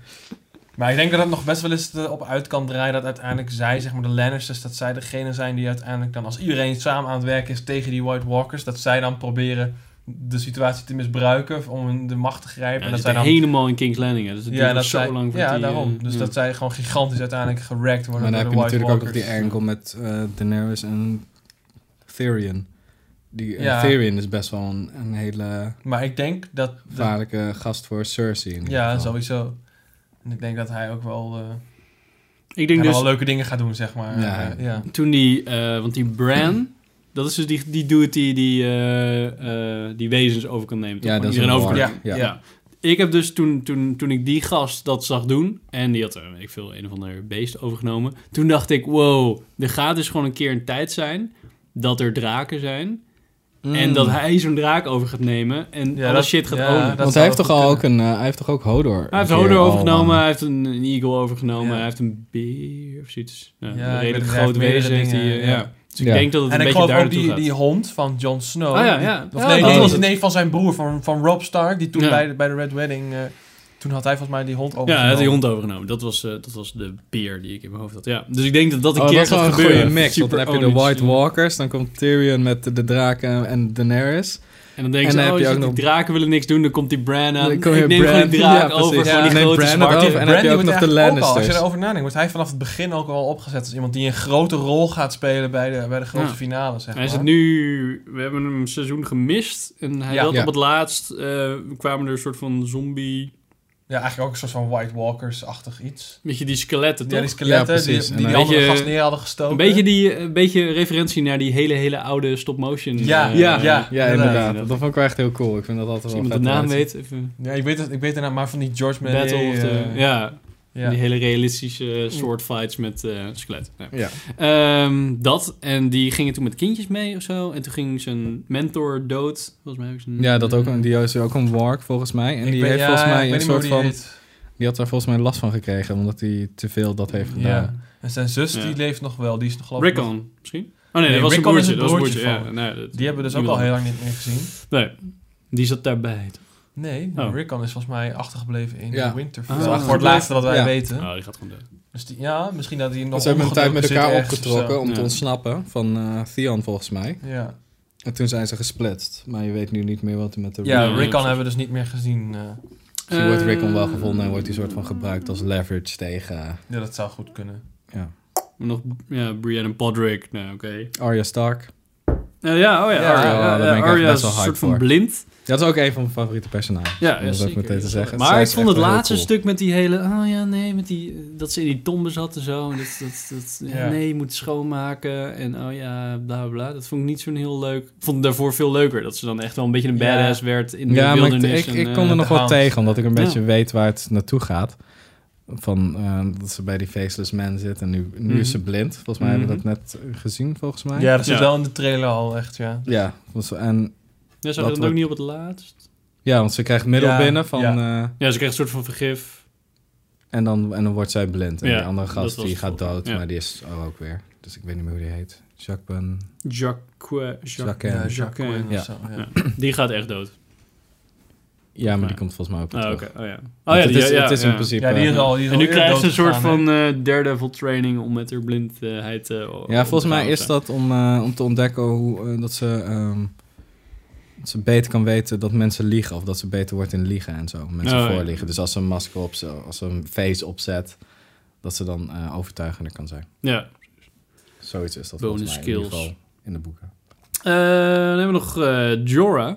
Speaker 2: Maar ik denk dat het nog best wel eens op uit kan draaien dat uiteindelijk zij, zeg maar de Lannisters, dat zij degene zijn die uiteindelijk dan, als iedereen samen aan het werken is tegen die White Walkers, dat zij dan proberen de situatie te misbruiken of om in de macht te grijpen.
Speaker 1: Ja, dat
Speaker 2: en dat zij dan,
Speaker 1: helemaal in King's Landing. Hè. Dus het
Speaker 2: ja,
Speaker 1: duurt
Speaker 2: dat
Speaker 1: nog zo
Speaker 2: zij,
Speaker 1: lang voor
Speaker 2: ja
Speaker 1: die, eh,
Speaker 2: daarom. Dus
Speaker 1: ja.
Speaker 2: dat zij gewoon gigantisch uiteindelijk gerakt worden
Speaker 3: Maar dan
Speaker 2: door
Speaker 3: heb je
Speaker 2: de
Speaker 3: natuurlijk
Speaker 2: White
Speaker 3: ook nog
Speaker 2: Walkers.
Speaker 3: die angle met eh, Daenerys en Tyrion. Die, en
Speaker 2: Ja.
Speaker 3: Tyrion is best wel een, een hele
Speaker 2: Maar ik denk dat... dat-
Speaker 3: gevaarlijke gast voor Cersei. in ieder
Speaker 2: ja,
Speaker 3: geval.
Speaker 2: sowieso. En ik denk dat hij ook wel, eh,
Speaker 1: Ik denk
Speaker 2: hij wel
Speaker 1: dus,
Speaker 2: leuke dingen gaat doen, zeg maar.
Speaker 3: Ja.
Speaker 2: Eh, ja.
Speaker 1: toen die... eh, want die Bran... Dat is dus die, die dude die, die, eh, eh, die wezens over kan nemen. toch?
Speaker 3: Ja,
Speaker 1: Waar
Speaker 3: dat is
Speaker 1: iedereen
Speaker 3: een
Speaker 1: over kan
Speaker 3: lord.
Speaker 2: nemen.
Speaker 3: Ja.
Speaker 1: Ja.
Speaker 3: Ja.
Speaker 1: Ik heb dus toen, toen, toen ik die gast dat zag doen, en die had, eh, weet ik veel, een of ander beest overgenomen. Toen dacht ik, wow, er gaat dus gewoon een keer een tijd zijn dat er draken zijn. En dat hij zo'n draak over gaat nemen en
Speaker 2: Mm. Ja,
Speaker 1: alle
Speaker 2: dat-
Speaker 1: shit gaat
Speaker 2: ja,
Speaker 1: ownen.
Speaker 2: dat
Speaker 3: Want hij
Speaker 2: zou
Speaker 3: heeft
Speaker 2: goed
Speaker 3: toch al
Speaker 2: kunnen.
Speaker 3: ook een, eh, hij heeft toch ook Hodor.
Speaker 1: Hij heeft
Speaker 3: een keer
Speaker 1: Hodor
Speaker 3: al,
Speaker 1: overgenomen,
Speaker 3: eh,
Speaker 1: hij heeft een, een eagle overgenomen,
Speaker 2: Ja.
Speaker 1: hij heeft een beer of zoiets. Ja,
Speaker 2: Ja,
Speaker 1: een
Speaker 2: ik weet
Speaker 1: redelijk
Speaker 2: het, hij
Speaker 1: groot
Speaker 2: heeft meerdere
Speaker 1: wezen heeft hij.
Speaker 2: dingen,
Speaker 1: eh,
Speaker 2: ja.
Speaker 1: ja. Dus ik
Speaker 3: Ja.
Speaker 1: denk dat het
Speaker 2: En
Speaker 1: een
Speaker 2: ik
Speaker 1: beetje
Speaker 2: geloof
Speaker 1: daar
Speaker 2: ook
Speaker 1: naartoe
Speaker 2: die,
Speaker 1: gaat.
Speaker 2: die hond van Jon Snow.
Speaker 1: Ah, ja,
Speaker 2: die-
Speaker 1: ja.
Speaker 2: Of
Speaker 1: Ja,
Speaker 2: nee,
Speaker 1: dat
Speaker 2: nee,
Speaker 1: was het.
Speaker 2: nee, van zijn broer, van, van Rob Stark. Die toen
Speaker 1: Ja.
Speaker 2: bij, de, bij de Red Wedding... eh, toen had hij volgens mij die hond
Speaker 1: ja,
Speaker 2: overgenomen.
Speaker 1: hij had die hond overgenomen. Dat was, eh, dat was de beer die ik in mijn hoofd had. Ja. Dus ik denk dat dat een
Speaker 3: oh,
Speaker 1: keer
Speaker 3: dat is wel
Speaker 1: gaat
Speaker 3: een
Speaker 1: gebeuren.
Speaker 3: goede mix.
Speaker 1: Super
Speaker 3: Want dan heb je de
Speaker 1: ownies,
Speaker 3: White
Speaker 1: ja.
Speaker 3: Walkers, dan komt Tyrion met de, de draken en Daenerys.
Speaker 1: En dan denken
Speaker 3: En
Speaker 1: ze,
Speaker 3: dan
Speaker 1: oh,
Speaker 3: heb je
Speaker 1: je
Speaker 3: ook
Speaker 1: ziet,
Speaker 3: nog-
Speaker 1: die draken willen niks doen. Dan komt die Bran aan.
Speaker 3: Dan
Speaker 1: Ik
Speaker 3: kom je
Speaker 1: neem
Speaker 3: Bran-
Speaker 1: gewoon die draak over.
Speaker 3: Ja, precies.
Speaker 1: Gewoon die
Speaker 2: Ja,
Speaker 3: neem
Speaker 1: grote
Speaker 3: Bran
Speaker 1: zwarte.
Speaker 3: erover. En dan heb je
Speaker 2: Brandy
Speaker 3: ook
Speaker 2: wordt
Speaker 3: nog de
Speaker 2: eigenlijk ook al, als je
Speaker 3: Lannisters.
Speaker 2: erover nadenkt, wordt hij vanaf het begin ook al opgezet als iemand die een grote rol gaat spelen bij de, bij de grote
Speaker 1: Ja.
Speaker 2: finale, zeg
Speaker 1: Hij
Speaker 2: maar.
Speaker 1: is het nu... We hebben hem een seizoen gemist. En hij
Speaker 2: Ja.
Speaker 1: had
Speaker 3: Ja.
Speaker 1: op het laatst... eh, kwamen er een soort van zombie...
Speaker 2: Ja, eigenlijk ook een soort van White Walkers-achtig iets.
Speaker 1: Beetje die skeletten,
Speaker 2: Ja,
Speaker 1: toch?
Speaker 2: die skeletten
Speaker 3: Ja,
Speaker 2: die,
Speaker 3: precies.
Speaker 2: die,
Speaker 3: En
Speaker 2: die
Speaker 1: een
Speaker 2: andere
Speaker 1: beetje-
Speaker 2: gast neer hadden gestoken.
Speaker 1: een, beetje die, een beetje referentie naar die hele, hele oude stop-motion.
Speaker 2: Ja,
Speaker 1: eh,
Speaker 3: ja,
Speaker 2: ja,
Speaker 3: Ja,
Speaker 2: inderdaad.
Speaker 3: inderdaad. Dat vond ik wel echt heel cool. Ik vind dat altijd
Speaker 1: Als
Speaker 3: wel
Speaker 1: iemand de
Speaker 3: vet
Speaker 1: naam
Speaker 3: eruit zien.
Speaker 1: weet, even...
Speaker 2: Ja, ik weet het, ik weet het nou, maar van die George Miller.
Speaker 1: Battle of the-
Speaker 2: eh,
Speaker 1: ja,
Speaker 2: ja.
Speaker 1: die hele realistische eh, sword fights met eh skeletten. Ja.
Speaker 3: Ja.
Speaker 1: Ehm, dat, en die gingen toen met kindjes mee of zo. En toen ging zijn mentor dood. Volgens mij heb ik zijn...
Speaker 3: Ja, dat ook, een- die is ook een wark volgens mij. En
Speaker 2: Ik
Speaker 3: die
Speaker 2: weet-
Speaker 3: heeft
Speaker 2: ja,
Speaker 3: volgens
Speaker 2: ik
Speaker 3: mij een
Speaker 2: weet niet meer
Speaker 3: soort
Speaker 2: hoe
Speaker 3: van.
Speaker 2: die
Speaker 3: Die,
Speaker 2: heet.
Speaker 3: had daar volgens mij last van gekregen, omdat hij te veel dat heeft gedaan.
Speaker 2: Ja. En zijn zus
Speaker 1: Ja.
Speaker 2: die leeft nog wel. Die is nog geloof ik nog-
Speaker 1: Rickon, misschien? Oh nee,
Speaker 2: Nee,
Speaker 1: dat was een
Speaker 2: Rickon is
Speaker 1: broertje. Dat was
Speaker 2: het
Speaker 1: een
Speaker 2: broertje
Speaker 1: broertje, ja.
Speaker 2: van-
Speaker 1: Nee, dat-
Speaker 2: Die hebben we dus ook
Speaker 1: iemand
Speaker 2: al heel lang niet meer gezien.
Speaker 1: Nee, die zat daarbij.
Speaker 2: Nee,
Speaker 1: Oh.
Speaker 2: Rickon is volgens mij achtergebleven in
Speaker 3: Ja.
Speaker 2: Winterfell.
Speaker 1: Ah.
Speaker 2: Dat is echt voor het laatste dat wij
Speaker 3: Ja.
Speaker 2: weten.
Speaker 1: Oh, die gaat gewoon dood.
Speaker 2: Dus die, ja, misschien dat hij nog
Speaker 3: Dus ze hebben een tijd met
Speaker 2: ondergedoken
Speaker 3: elkaar
Speaker 2: zit ergens of
Speaker 3: opgetrokken
Speaker 2: zo.
Speaker 3: om te
Speaker 1: Ja.
Speaker 3: ontsnappen van eh Theon volgens mij.
Speaker 2: Ja,
Speaker 3: En toen zijn ze gesplitst. Maar je weet nu niet meer wat er met de
Speaker 1: Ja,
Speaker 2: ja Rickon
Speaker 1: precies.
Speaker 2: hebben we dus niet meer gezien. eh.
Speaker 3: Misschien wordt Rickon wel
Speaker 1: Eh,
Speaker 3: gevonden en wordt die soort van gebruikt als leverage tegen
Speaker 2: ja, dat zou goed kunnen.
Speaker 3: ja.
Speaker 1: Nog, ja, Brienne en Podrick. Nou, oké.
Speaker 3: Arya Stark.
Speaker 1: Eh, ja, oh ja,
Speaker 2: Ja,
Speaker 1: Arya.
Speaker 2: ja,
Speaker 3: daar ben
Speaker 1: ja,
Speaker 3: ik echt
Speaker 1: Arya
Speaker 3: best
Speaker 1: is
Speaker 3: wel
Speaker 1: een
Speaker 3: hyped
Speaker 1: soort van
Speaker 3: voor.
Speaker 1: blind.
Speaker 3: Dat is ook een van mijn favoriete personages.
Speaker 1: Ja,
Speaker 3: om
Speaker 1: ja,
Speaker 3: dat
Speaker 1: zeker,
Speaker 3: ook meteen te
Speaker 1: ja,
Speaker 3: zeggen.
Speaker 1: Maar
Speaker 3: Zij
Speaker 1: ik
Speaker 3: is
Speaker 1: vond
Speaker 3: echt
Speaker 1: het
Speaker 3: wel heel
Speaker 1: laatste
Speaker 3: cool.
Speaker 1: stuk met die hele... Oh ja, nee, met die, dat ze in die tombes zat en zo. en Dat, dat, dat, ja,
Speaker 2: Ja.
Speaker 1: Nee, je moet schoonmaken. En oh ja, bla bla bla. Dat vond ik niet zo'n heel leuk... Ik vond het daarvoor veel leuker. Dat ze dan echt wel een beetje een
Speaker 2: Ja.
Speaker 1: badass werd in de
Speaker 3: ja, maar ik,
Speaker 1: wildernis.
Speaker 3: ik,
Speaker 1: en,
Speaker 3: ik
Speaker 1: eh,
Speaker 3: kon er nog wel
Speaker 2: hound.
Speaker 3: tegen, omdat ik een
Speaker 1: Ja.
Speaker 3: beetje weet waar het naartoe gaat. Van eh, dat ze bij die Faceless Man zit en nu, nu
Speaker 1: Mhm.
Speaker 3: is ze blind. Volgens mij hebben we dat net eh, gezien, volgens mij.
Speaker 2: Ja, dat zit
Speaker 1: Ja.
Speaker 2: wel in de trailer al, echt, ja.
Speaker 3: Ja, volgens- en,
Speaker 1: Ja, zag
Speaker 3: Dat
Speaker 1: je dat ook niet
Speaker 3: wordt-
Speaker 1: op het laatst?
Speaker 3: ja want ze krijgt middel
Speaker 2: Ja,
Speaker 3: binnen van, eh,
Speaker 1: Ja, ze kreeg een soort van vergif.
Speaker 3: en, dan, en dan wordt zij blind. En
Speaker 1: Ja,
Speaker 3: die andere
Speaker 1: dat
Speaker 3: gast
Speaker 1: was
Speaker 3: die
Speaker 1: het
Speaker 3: gaat
Speaker 1: volgens-
Speaker 3: dood,
Speaker 1: ja.
Speaker 3: maar die is er ook weer. Dus ik weet niet meer hoe die heet. Jacques Ben...
Speaker 1: Jacques. Jacques.
Speaker 3: Jacques.
Speaker 2: Jacqueline
Speaker 1: Ja.
Speaker 2: of zo, ja.
Speaker 1: Die gaat echt dood.
Speaker 3: Ja, maar
Speaker 1: Ja.
Speaker 3: die komt volgens mij ook weer
Speaker 1: Oh,
Speaker 3: terug.
Speaker 1: oké. Oh, ja.
Speaker 3: Want
Speaker 1: Oh, ja,
Speaker 3: het
Speaker 1: die-
Speaker 3: is,
Speaker 1: ja,
Speaker 3: het is
Speaker 1: ja.
Speaker 3: in principe...
Speaker 2: Ja, die is al. Die is
Speaker 1: En
Speaker 2: al
Speaker 1: nu
Speaker 2: eerder
Speaker 1: krijgt ze een soort
Speaker 2: doodgegaan, hè.
Speaker 1: van eh daredevil training om met haar blindheid... eh, om
Speaker 3: Ja,
Speaker 1: te
Speaker 3: volgens mij
Speaker 1: gaan
Speaker 3: is
Speaker 1: staan.
Speaker 3: dat om, eh, om te ontdekken hoe, eh, dat, ze, ehm, dat ze beter kan weten dat mensen liegen. Of dat ze beter wordt in liegen en zo. Mensen
Speaker 1: Oh, ja.
Speaker 3: voorliegen. Dus als ze een masker op, als ze een face opzet, dat ze dan eh, overtuigender kan zijn.
Speaker 1: Ja.
Speaker 3: Zoiets is dat
Speaker 1: Bonus
Speaker 3: volgens mij in ieder
Speaker 1: skills.
Speaker 3: geval in de boeken.
Speaker 1: Eh, dan hebben we nog eh, Jorah.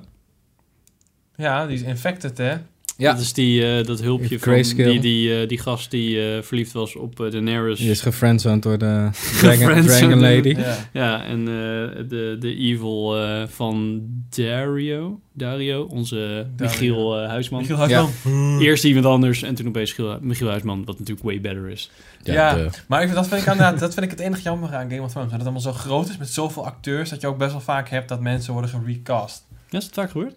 Speaker 2: Ja, die is infected, hè?
Speaker 3: Ja.
Speaker 1: Dat is die, eh, dat hulpje
Speaker 3: Heeft
Speaker 1: van
Speaker 3: grayscale.
Speaker 1: die, die, eh, die gast die eh, verliefd was op eh, Daenerys.
Speaker 3: Die is gefriendzoned door de Dragon,
Speaker 1: Gefriendzoned.
Speaker 3: dragon Lady.
Speaker 2: Ja.
Speaker 1: Ja, en eh, de, de evil eh, van Dario. Dario, onze Michiel eh, Huisman.
Speaker 2: Michiel Huisman.
Speaker 1: Eerst iemand anders en toen opeens Michiel, Michiel Huisman, wat natuurlijk way better is.
Speaker 2: Ja.
Speaker 3: de-
Speaker 2: Maar ik vind, dat, vind ik aan, dat vind ik het enige jammer aan Game of Thrones. Dat het allemaal zo groot is met zoveel acteurs. Dat je ook best wel vaak hebt dat mensen worden gerecast.
Speaker 1: Ja, is dat vaak gebeurd?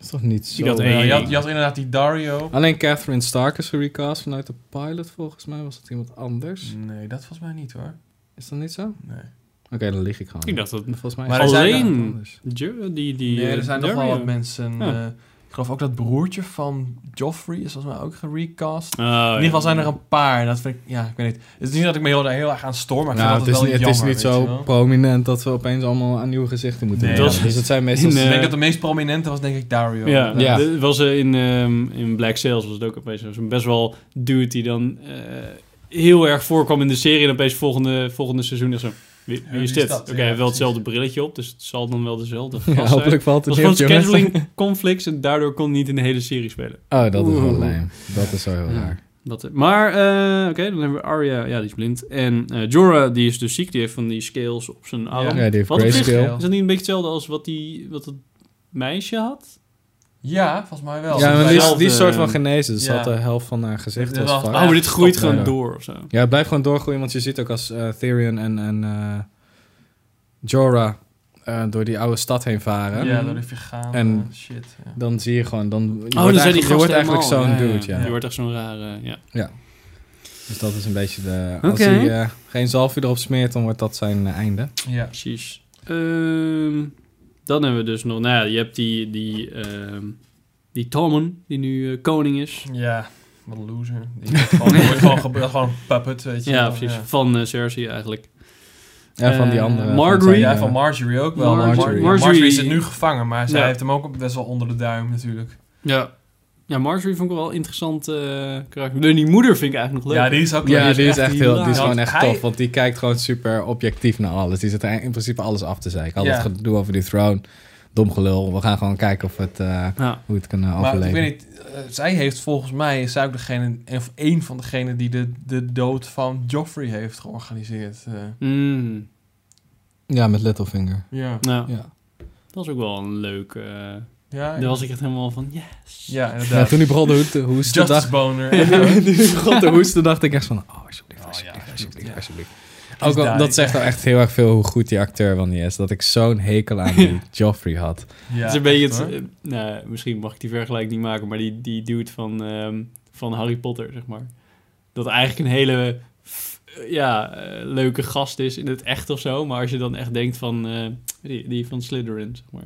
Speaker 3: is toch niet zo...
Speaker 1: Ik had één.
Speaker 2: Ja, je, had, je had inderdaad die Dario.
Speaker 3: Alleen Catherine Stark is gerecast vanuit de pilot volgens mij. Was het iemand
Speaker 1: Mm.
Speaker 3: anders?
Speaker 2: Nee, dat volgens mij niet hoor.
Speaker 3: Is dat niet zo? Oké,
Speaker 2: Nee.
Speaker 3: dan lieg ik gewoon.
Speaker 1: Ik dacht dat
Speaker 3: Volgens mij
Speaker 2: Maar
Speaker 3: is
Speaker 2: er
Speaker 3: het
Speaker 2: zijn
Speaker 3: iemand
Speaker 1: alleen-
Speaker 3: anders.
Speaker 1: Jo- die, die,
Speaker 2: nee,
Speaker 1: eh,
Speaker 2: er zijn nog wel
Speaker 1: Dario.
Speaker 2: wat mensen.
Speaker 1: Ja.
Speaker 2: eh, ik geloof ook dat broertje van Joffrey is volgens mij ook gerecast.
Speaker 1: Oh,
Speaker 2: In
Speaker 1: ja.
Speaker 2: ieder geval zijn er een paar. En dat vind ik, ja, ik weet niet. Het is niet dat ik me heel, heel erg aan storm, maar ik
Speaker 3: Nou,
Speaker 2: vind
Speaker 3: het is,
Speaker 2: dat
Speaker 3: niet,
Speaker 2: wel
Speaker 3: het
Speaker 2: jammer.
Speaker 3: is niet
Speaker 2: weet je
Speaker 3: zo
Speaker 2: wel.
Speaker 3: prominent dat we opeens allemaal aan nieuwe gezichten moeten
Speaker 2: Nee,
Speaker 3: doen.
Speaker 1: dat is-
Speaker 3: Dus het zijn meestal...
Speaker 1: in,
Speaker 2: Ik
Speaker 1: eh,
Speaker 2: denk dat de meest prominente was denk ik Dario.
Speaker 1: Ja,
Speaker 2: inderdaad.
Speaker 3: Ja.
Speaker 1: dit was eh, in, ehm, in Black Sales was het ook opeens zo'n best wel dude die dan eh, heel erg voorkwam in de serie en opeens volgende, volgende seizoen is zo. Wie, wie
Speaker 2: wie
Speaker 1: is
Speaker 2: is
Speaker 1: dit?
Speaker 2: dat?
Speaker 1: Oké,
Speaker 2: Ja,
Speaker 1: hij heeft wel
Speaker 2: precies.
Speaker 1: hetzelfde brilletje op, dus het zal dan wel dezelfde gast
Speaker 3: ja,
Speaker 1: zijn.
Speaker 3: hopelijk valt
Speaker 1: Het was
Speaker 3: het
Speaker 1: gewoon
Speaker 3: niet op, jongens.
Speaker 1: scheduling conflicts en daardoor kon hij niet in de hele serie spelen.
Speaker 3: Oh, dat is wel
Speaker 1: Oeh.
Speaker 3: lame. Dat is wel heel
Speaker 1: Ja.
Speaker 3: raar.
Speaker 1: Dat, eh, maar, eh, oké, dan hebben we Arya, ja, die is blind. En eh, Jorah, die is dus ziek, die heeft van die scales op zijn arm.
Speaker 2: Ja,
Speaker 3: Ja, die heeft
Speaker 1: Wat op zich-
Speaker 3: grayscale.
Speaker 1: Is dat niet een beetje hetzelfde als wat, die, wat het meisje had?
Speaker 2: Ja, volgens mij wel.
Speaker 3: Ja, maar die is, die is
Speaker 1: Hetzelfde.
Speaker 3: soort van genezen. Dus ze
Speaker 2: Ja.
Speaker 3: had de helft van haar gezicht
Speaker 2: Ja,
Speaker 3: was
Speaker 2: wel.
Speaker 3: vast.
Speaker 1: Oh, maar dit groeit
Speaker 3: Ja.
Speaker 1: gewoon door of zo.
Speaker 3: Ja, het blijft gewoon doorgroeien. Want je ziet ook als eh, Tyrion en, en eh, Jorah eh, door die oude stad heen varen...
Speaker 2: Ja, door de vegan
Speaker 3: En-
Speaker 2: en eh, shit. Ja.
Speaker 3: Dan zie je gewoon... Dan, je wordt
Speaker 1: Oh, dan zijn die
Speaker 3: eigenlijk- je
Speaker 1: gasten
Speaker 3: wordt eigenlijk
Speaker 1: helemaal-
Speaker 3: zo'n
Speaker 1: ja, ja,
Speaker 3: dude, ja.
Speaker 1: Je wordt echt zo'n rare, ja.
Speaker 3: Dus dat is een beetje de... Als
Speaker 1: Oké.
Speaker 3: hij eh, geen zalfje erop smeert, dan wordt dat zijn eh, einde.
Speaker 2: Ja.
Speaker 1: Precies. Ehm, dan hebben we dus nog, nou ja, je hebt die, die, ehm, die Tommen, die nu eh, koning is.
Speaker 2: ja, wat een loser. Die wordt gewoon, die wordt gewoon, ge- gewoon een puppet, weet je.
Speaker 1: Ja,
Speaker 2: wel.
Speaker 1: precies. Van eh, Cersei eigenlijk.
Speaker 3: Ja, van die
Speaker 1: Eh,
Speaker 3: andere. van
Speaker 1: Margaery.
Speaker 3: zijn,
Speaker 2: Ja,
Speaker 3: eh,
Speaker 2: van Marjorie ook wel.
Speaker 1: Marjorie.
Speaker 2: Marjorie, Marjorie.
Speaker 1: Marjorie
Speaker 2: zit nu gevangen, maar zij
Speaker 1: Ja.
Speaker 2: heeft hem ook best wel onder de duim natuurlijk.
Speaker 1: Ja. Ja, Marjorie vond ik wel een interessant eh, karakter. Nee, die moeder vind ik eigenlijk nog leuk.
Speaker 2: Ja, die is ook
Speaker 3: Ja, die is echt heel, die is
Speaker 1: hilarisch.
Speaker 3: gewoon echt
Speaker 2: Want hij-
Speaker 3: tof, want die kijkt gewoon super objectief naar alles. Die zit er in principe alles af te zeiken. Al
Speaker 2: Ja.
Speaker 3: dat gedoe over die throne, dom gelul. We gaan gewoon kijken of het, eh,
Speaker 1: Ja.
Speaker 3: hoe het kan eh,
Speaker 2: Maar
Speaker 3: overleven.
Speaker 2: ik weet niet, eh, zij heeft volgens mij, is zij ook degene, of één van degenen die de, de dood van Joffrey heeft georganiseerd. eh.
Speaker 1: Mm,
Speaker 3: Ja, met Littlefinger.
Speaker 2: ja.
Speaker 1: nou,
Speaker 3: Ja.
Speaker 1: dat was ook wel een leuk... eh
Speaker 2: Ja,
Speaker 1: daar was ik echt helemaal van, yes.
Speaker 2: ja,
Speaker 3: Ja,
Speaker 2: inderdaad.
Speaker 3: toen die begon de hoesten, hoesten
Speaker 2: Justice
Speaker 3: dacht,
Speaker 2: Boner.
Speaker 3: toen die begon te hoesten, dacht ik echt van, oh, alsjeblieft,
Speaker 2: Oh,
Speaker 3: alsjeblieft,
Speaker 2: ja,
Speaker 3: alsjeblieft,
Speaker 2: ja.
Speaker 3: alsjeblieft.
Speaker 2: Please
Speaker 3: Ook al,
Speaker 2: die.
Speaker 3: dat zegt nou echt heel erg veel hoe goed die acteur van die is. Dat ik zo'n hekel aan die Joffrey had.
Speaker 2: Ja,
Speaker 1: het is een beetje
Speaker 2: echt,
Speaker 1: het,
Speaker 2: hoor.
Speaker 1: eh, nou, misschien mag ik die vergelijking niet maken, maar die, die dude van, ehm, van Harry Potter, zeg maar. Dat eigenlijk een hele f- ja, eh, leuke gast is in het echt of zo. Maar als je dan echt denkt van eh, die, die van Slytherin, zeg maar.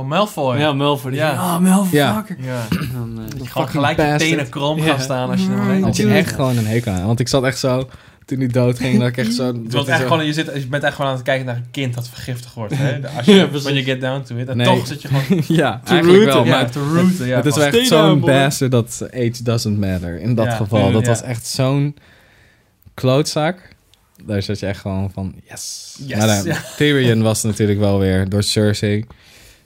Speaker 2: Oh, Malfoy.
Speaker 1: Ja, Malfoy. Die
Speaker 2: Ja.
Speaker 1: van, Ah,
Speaker 2: Oh,
Speaker 1: Malfoy,
Speaker 3: Ja.
Speaker 1: fucker.
Speaker 2: Ja.
Speaker 1: Dan, eh,
Speaker 2: Dat je gewoon
Speaker 3: Fucking
Speaker 2: gelijk je
Speaker 3: bastard.
Speaker 2: tenen krom
Speaker 1: Ja. Mm.
Speaker 2: gaan staan als je er
Speaker 1: Ja,
Speaker 2: doorheen
Speaker 3: Dat je
Speaker 2: loopt.
Speaker 3: echt gewoon een hekel aan. had. Want ik zat echt zo, toen die dood ging, dat ik echt zo...
Speaker 2: Het
Speaker 3: dat
Speaker 2: was
Speaker 3: is
Speaker 2: echt
Speaker 3: zo-
Speaker 2: gewoon, je, zit, je bent echt gewoon aan het kijken naar een kind dat vergiftigd wordt. Hè? Als
Speaker 1: Ja,
Speaker 2: je,
Speaker 1: precies.
Speaker 2: when you get down to it. En
Speaker 3: Nee.
Speaker 2: toch zit je gewoon
Speaker 3: ja,
Speaker 1: To
Speaker 3: eigenlijk
Speaker 1: rooten,
Speaker 3: wel.
Speaker 2: ja,
Speaker 3: Maar
Speaker 2: te rooten. Ja,
Speaker 3: het is wel
Speaker 1: Stay
Speaker 3: echt
Speaker 1: down,
Speaker 3: zo'n
Speaker 1: boy.
Speaker 3: bastard dat age doesn't matter. In dat
Speaker 2: Ja, Mm,
Speaker 3: geval. Dat
Speaker 2: ja.
Speaker 3: was echt zo'n klootzak. Daar zat je echt gewoon van, yes.
Speaker 2: Yes,
Speaker 3: maar dan,
Speaker 2: ja.
Speaker 3: Tyrion was natuurlijk wel weer door Cersei.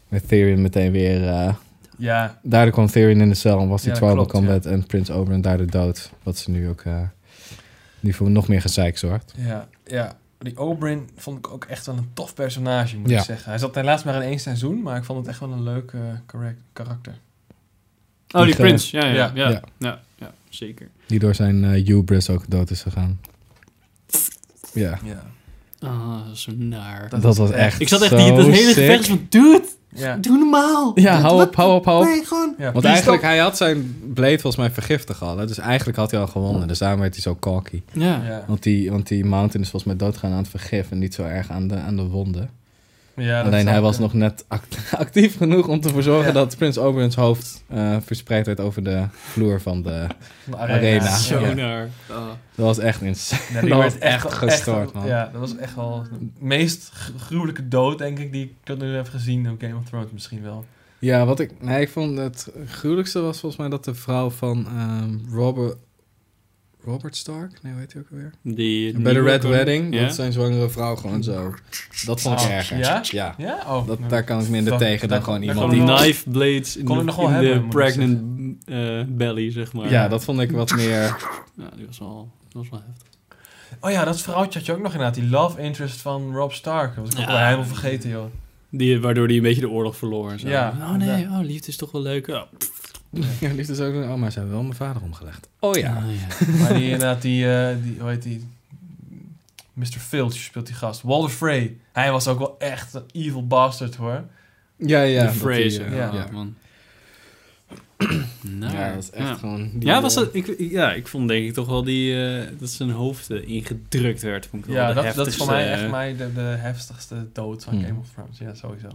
Speaker 3: Met Tyrion meteen weer... eh,
Speaker 2: Ja,
Speaker 3: daardoor kwam Tyrion in de cel en was die
Speaker 2: Ja,
Speaker 3: Tribal
Speaker 2: klopt,
Speaker 3: Combat en Prins Oberyn daardoor dood. Wat ze nu ook... eh nu voor nog meer gezeik zorgt.
Speaker 2: ja, ja. Die Oberyn vond ik ook echt wel een tof personage, moet
Speaker 3: Ja.
Speaker 2: ik zeggen. Hij zat helaas maar in één seizoen, maar ik vond het echt wel een leuk eh, correct- karakter.
Speaker 1: Oh, die
Speaker 3: Die, eh,
Speaker 1: prins. Ja, ja, ja.
Speaker 2: ja,
Speaker 1: ja.
Speaker 3: ja.
Speaker 1: ja, zeker.
Speaker 3: Die door zijn eh, hubris ook dood is gegaan. Ja.
Speaker 2: Ja.
Speaker 1: Ah, zo naar.
Speaker 3: Dat,
Speaker 2: Dat
Speaker 3: was
Speaker 2: was
Speaker 3: echt
Speaker 1: Ik zat echt
Speaker 3: zo
Speaker 1: die, dat hele
Speaker 3: sick.
Speaker 1: gevecht van, dude,
Speaker 2: Ja.
Speaker 1: doe normaal.
Speaker 3: Ja, hou op, hou op, hou op.
Speaker 1: Nee, gewoon.
Speaker 2: Ja.
Speaker 3: Want eigenlijk, hij had zijn blade volgens mij vergiftigd al. Hè? Dus eigenlijk had hij al
Speaker 1: Oh.
Speaker 3: gewonnen. Dus daarom werd hij zo cocky.
Speaker 1: Ja.
Speaker 2: Ja.
Speaker 3: Want die, want die mountain is volgens mij doodgaan aan het vergif... en niet zo erg aan de, aan de wonden.
Speaker 2: Ja, dat eh,
Speaker 3: Alleen
Speaker 2: zou
Speaker 3: hij was
Speaker 2: kunnen.
Speaker 3: nog net act- actief genoeg om ervoor te zorgen
Speaker 2: Ja.
Speaker 3: dat Prins Oberyn's hoofd eh, verspreid werd over de vloer van de...
Speaker 2: Een
Speaker 3: arena.
Speaker 2: Ja.
Speaker 1: Zo
Speaker 3: Ja.
Speaker 1: naar. Ah.
Speaker 3: Dat was echt insane.
Speaker 2: Ja,
Speaker 3: Dat
Speaker 2: werd
Speaker 3: was echt gestoord, man.
Speaker 2: Ja, dat was echt wel de meest gru- gruwelijke dood, denk ik, die ik tot nu heb gezien in Game of Thrones misschien wel.
Speaker 3: Ja, wat ik... Nee, ik vond het gruwelijkste was volgens mij dat de vrouw van ehm, Robert... Robert Stark? Nee, weet je ook alweer?
Speaker 1: Die,
Speaker 3: Bij de
Speaker 1: nieuwe
Speaker 3: Red
Speaker 1: koning.
Speaker 3: Wedding,
Speaker 1: Ja?
Speaker 3: dat zijn zwangere vrouw gewoon zo. Dat vond ik
Speaker 2: Oh,
Speaker 3: erger.
Speaker 2: ja?
Speaker 3: Ja.
Speaker 2: Ja? Oh,
Speaker 3: Dat,
Speaker 2: nou,
Speaker 3: daar kan ik minder
Speaker 2: Dat-
Speaker 3: tegen dan
Speaker 2: daar-
Speaker 3: gewoon
Speaker 2: daar
Speaker 3: iemand
Speaker 1: Die
Speaker 2: kon ik
Speaker 3: die...
Speaker 2: nog-
Speaker 1: knife blades in,
Speaker 2: kon
Speaker 1: de,
Speaker 2: ik nog wel
Speaker 1: in de
Speaker 2: hebben, moet ik
Speaker 1: pregnant eh, belly, zeg maar.
Speaker 3: Ja, dat vond ik wat meer...
Speaker 1: Ja, die was wel, dat was wel heftig.
Speaker 2: Oh ja, dat vrouwtje had je ook nog inderdaad. Die love interest van Rob Stark. Dat was ik ook
Speaker 1: Ja.
Speaker 2: wel helemaal vergeten, joh.
Speaker 1: Die, waardoor hij een beetje de oorlog verloor. en Zo.
Speaker 2: Ja.
Speaker 1: Oh nee, oh, liefde is toch wel leuk. Oh,
Speaker 3: Ja, liefde is ook... Oh, maar ze hebben wel mijn vader omgelegd. Oh ja.
Speaker 1: Ah, ja.
Speaker 2: Maar die inderdaad, die, eh, die, hoe heet die? Mr. Filch speelt die gast. Walter Frey. Hij was ook wel echt een evil bastard, hoor.
Speaker 3: Ja, ja.
Speaker 1: de
Speaker 3: dat die,
Speaker 1: phrase.
Speaker 3: eh,
Speaker 1: ja,
Speaker 2: ja.
Speaker 1: man.
Speaker 3: Ja,
Speaker 1: Nou,
Speaker 3: dat is echt
Speaker 1: ja.
Speaker 3: gewoon... die,
Speaker 1: Ja, was
Speaker 3: eh,
Speaker 1: dat, ik, ik- ja, ik vond denk ik toch wel die, eh, dat zijn hoofd eh, ingedrukt werd. Vond ik wel
Speaker 2: Ja,
Speaker 1: de
Speaker 2: dat, dat is voor
Speaker 1: heftigste,
Speaker 2: mij echt
Speaker 1: eh,
Speaker 2: mij de, de heftigste dood van
Speaker 3: Hmm.
Speaker 2: Game of Thrones. Ja, sowieso.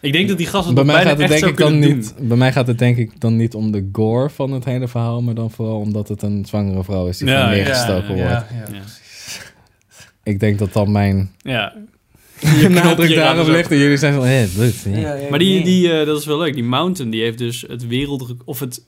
Speaker 1: Ik denk dat die gast het
Speaker 3: Bij mij,
Speaker 1: bijna
Speaker 3: gaat het
Speaker 1: echt
Speaker 3: denk
Speaker 1: zou
Speaker 3: ik dan
Speaker 1: kunnen doen.
Speaker 3: niet, bij mij gaat het denk ik dan niet om de gore van het hele verhaal, maar dan vooral omdat het een zwangere vrouw is die
Speaker 1: Ja, ja,
Speaker 3: gewoon neergestoken
Speaker 2: ja,
Speaker 3: wordt.
Speaker 2: ja, ja,
Speaker 1: Ja.
Speaker 2: precies.
Speaker 3: Ik denk dat dan mijn
Speaker 1: Ja.
Speaker 3: nadruk
Speaker 1: hier aan
Speaker 2: dus
Speaker 3: daarop
Speaker 1: zo.
Speaker 3: ligt en jullie zijn van, hé, dit, ja.
Speaker 2: Ja, ja,
Speaker 1: Maar die,
Speaker 2: ja.
Speaker 1: die, eh, dat is wel leuk. Die Mountain die heeft dus het wereld of het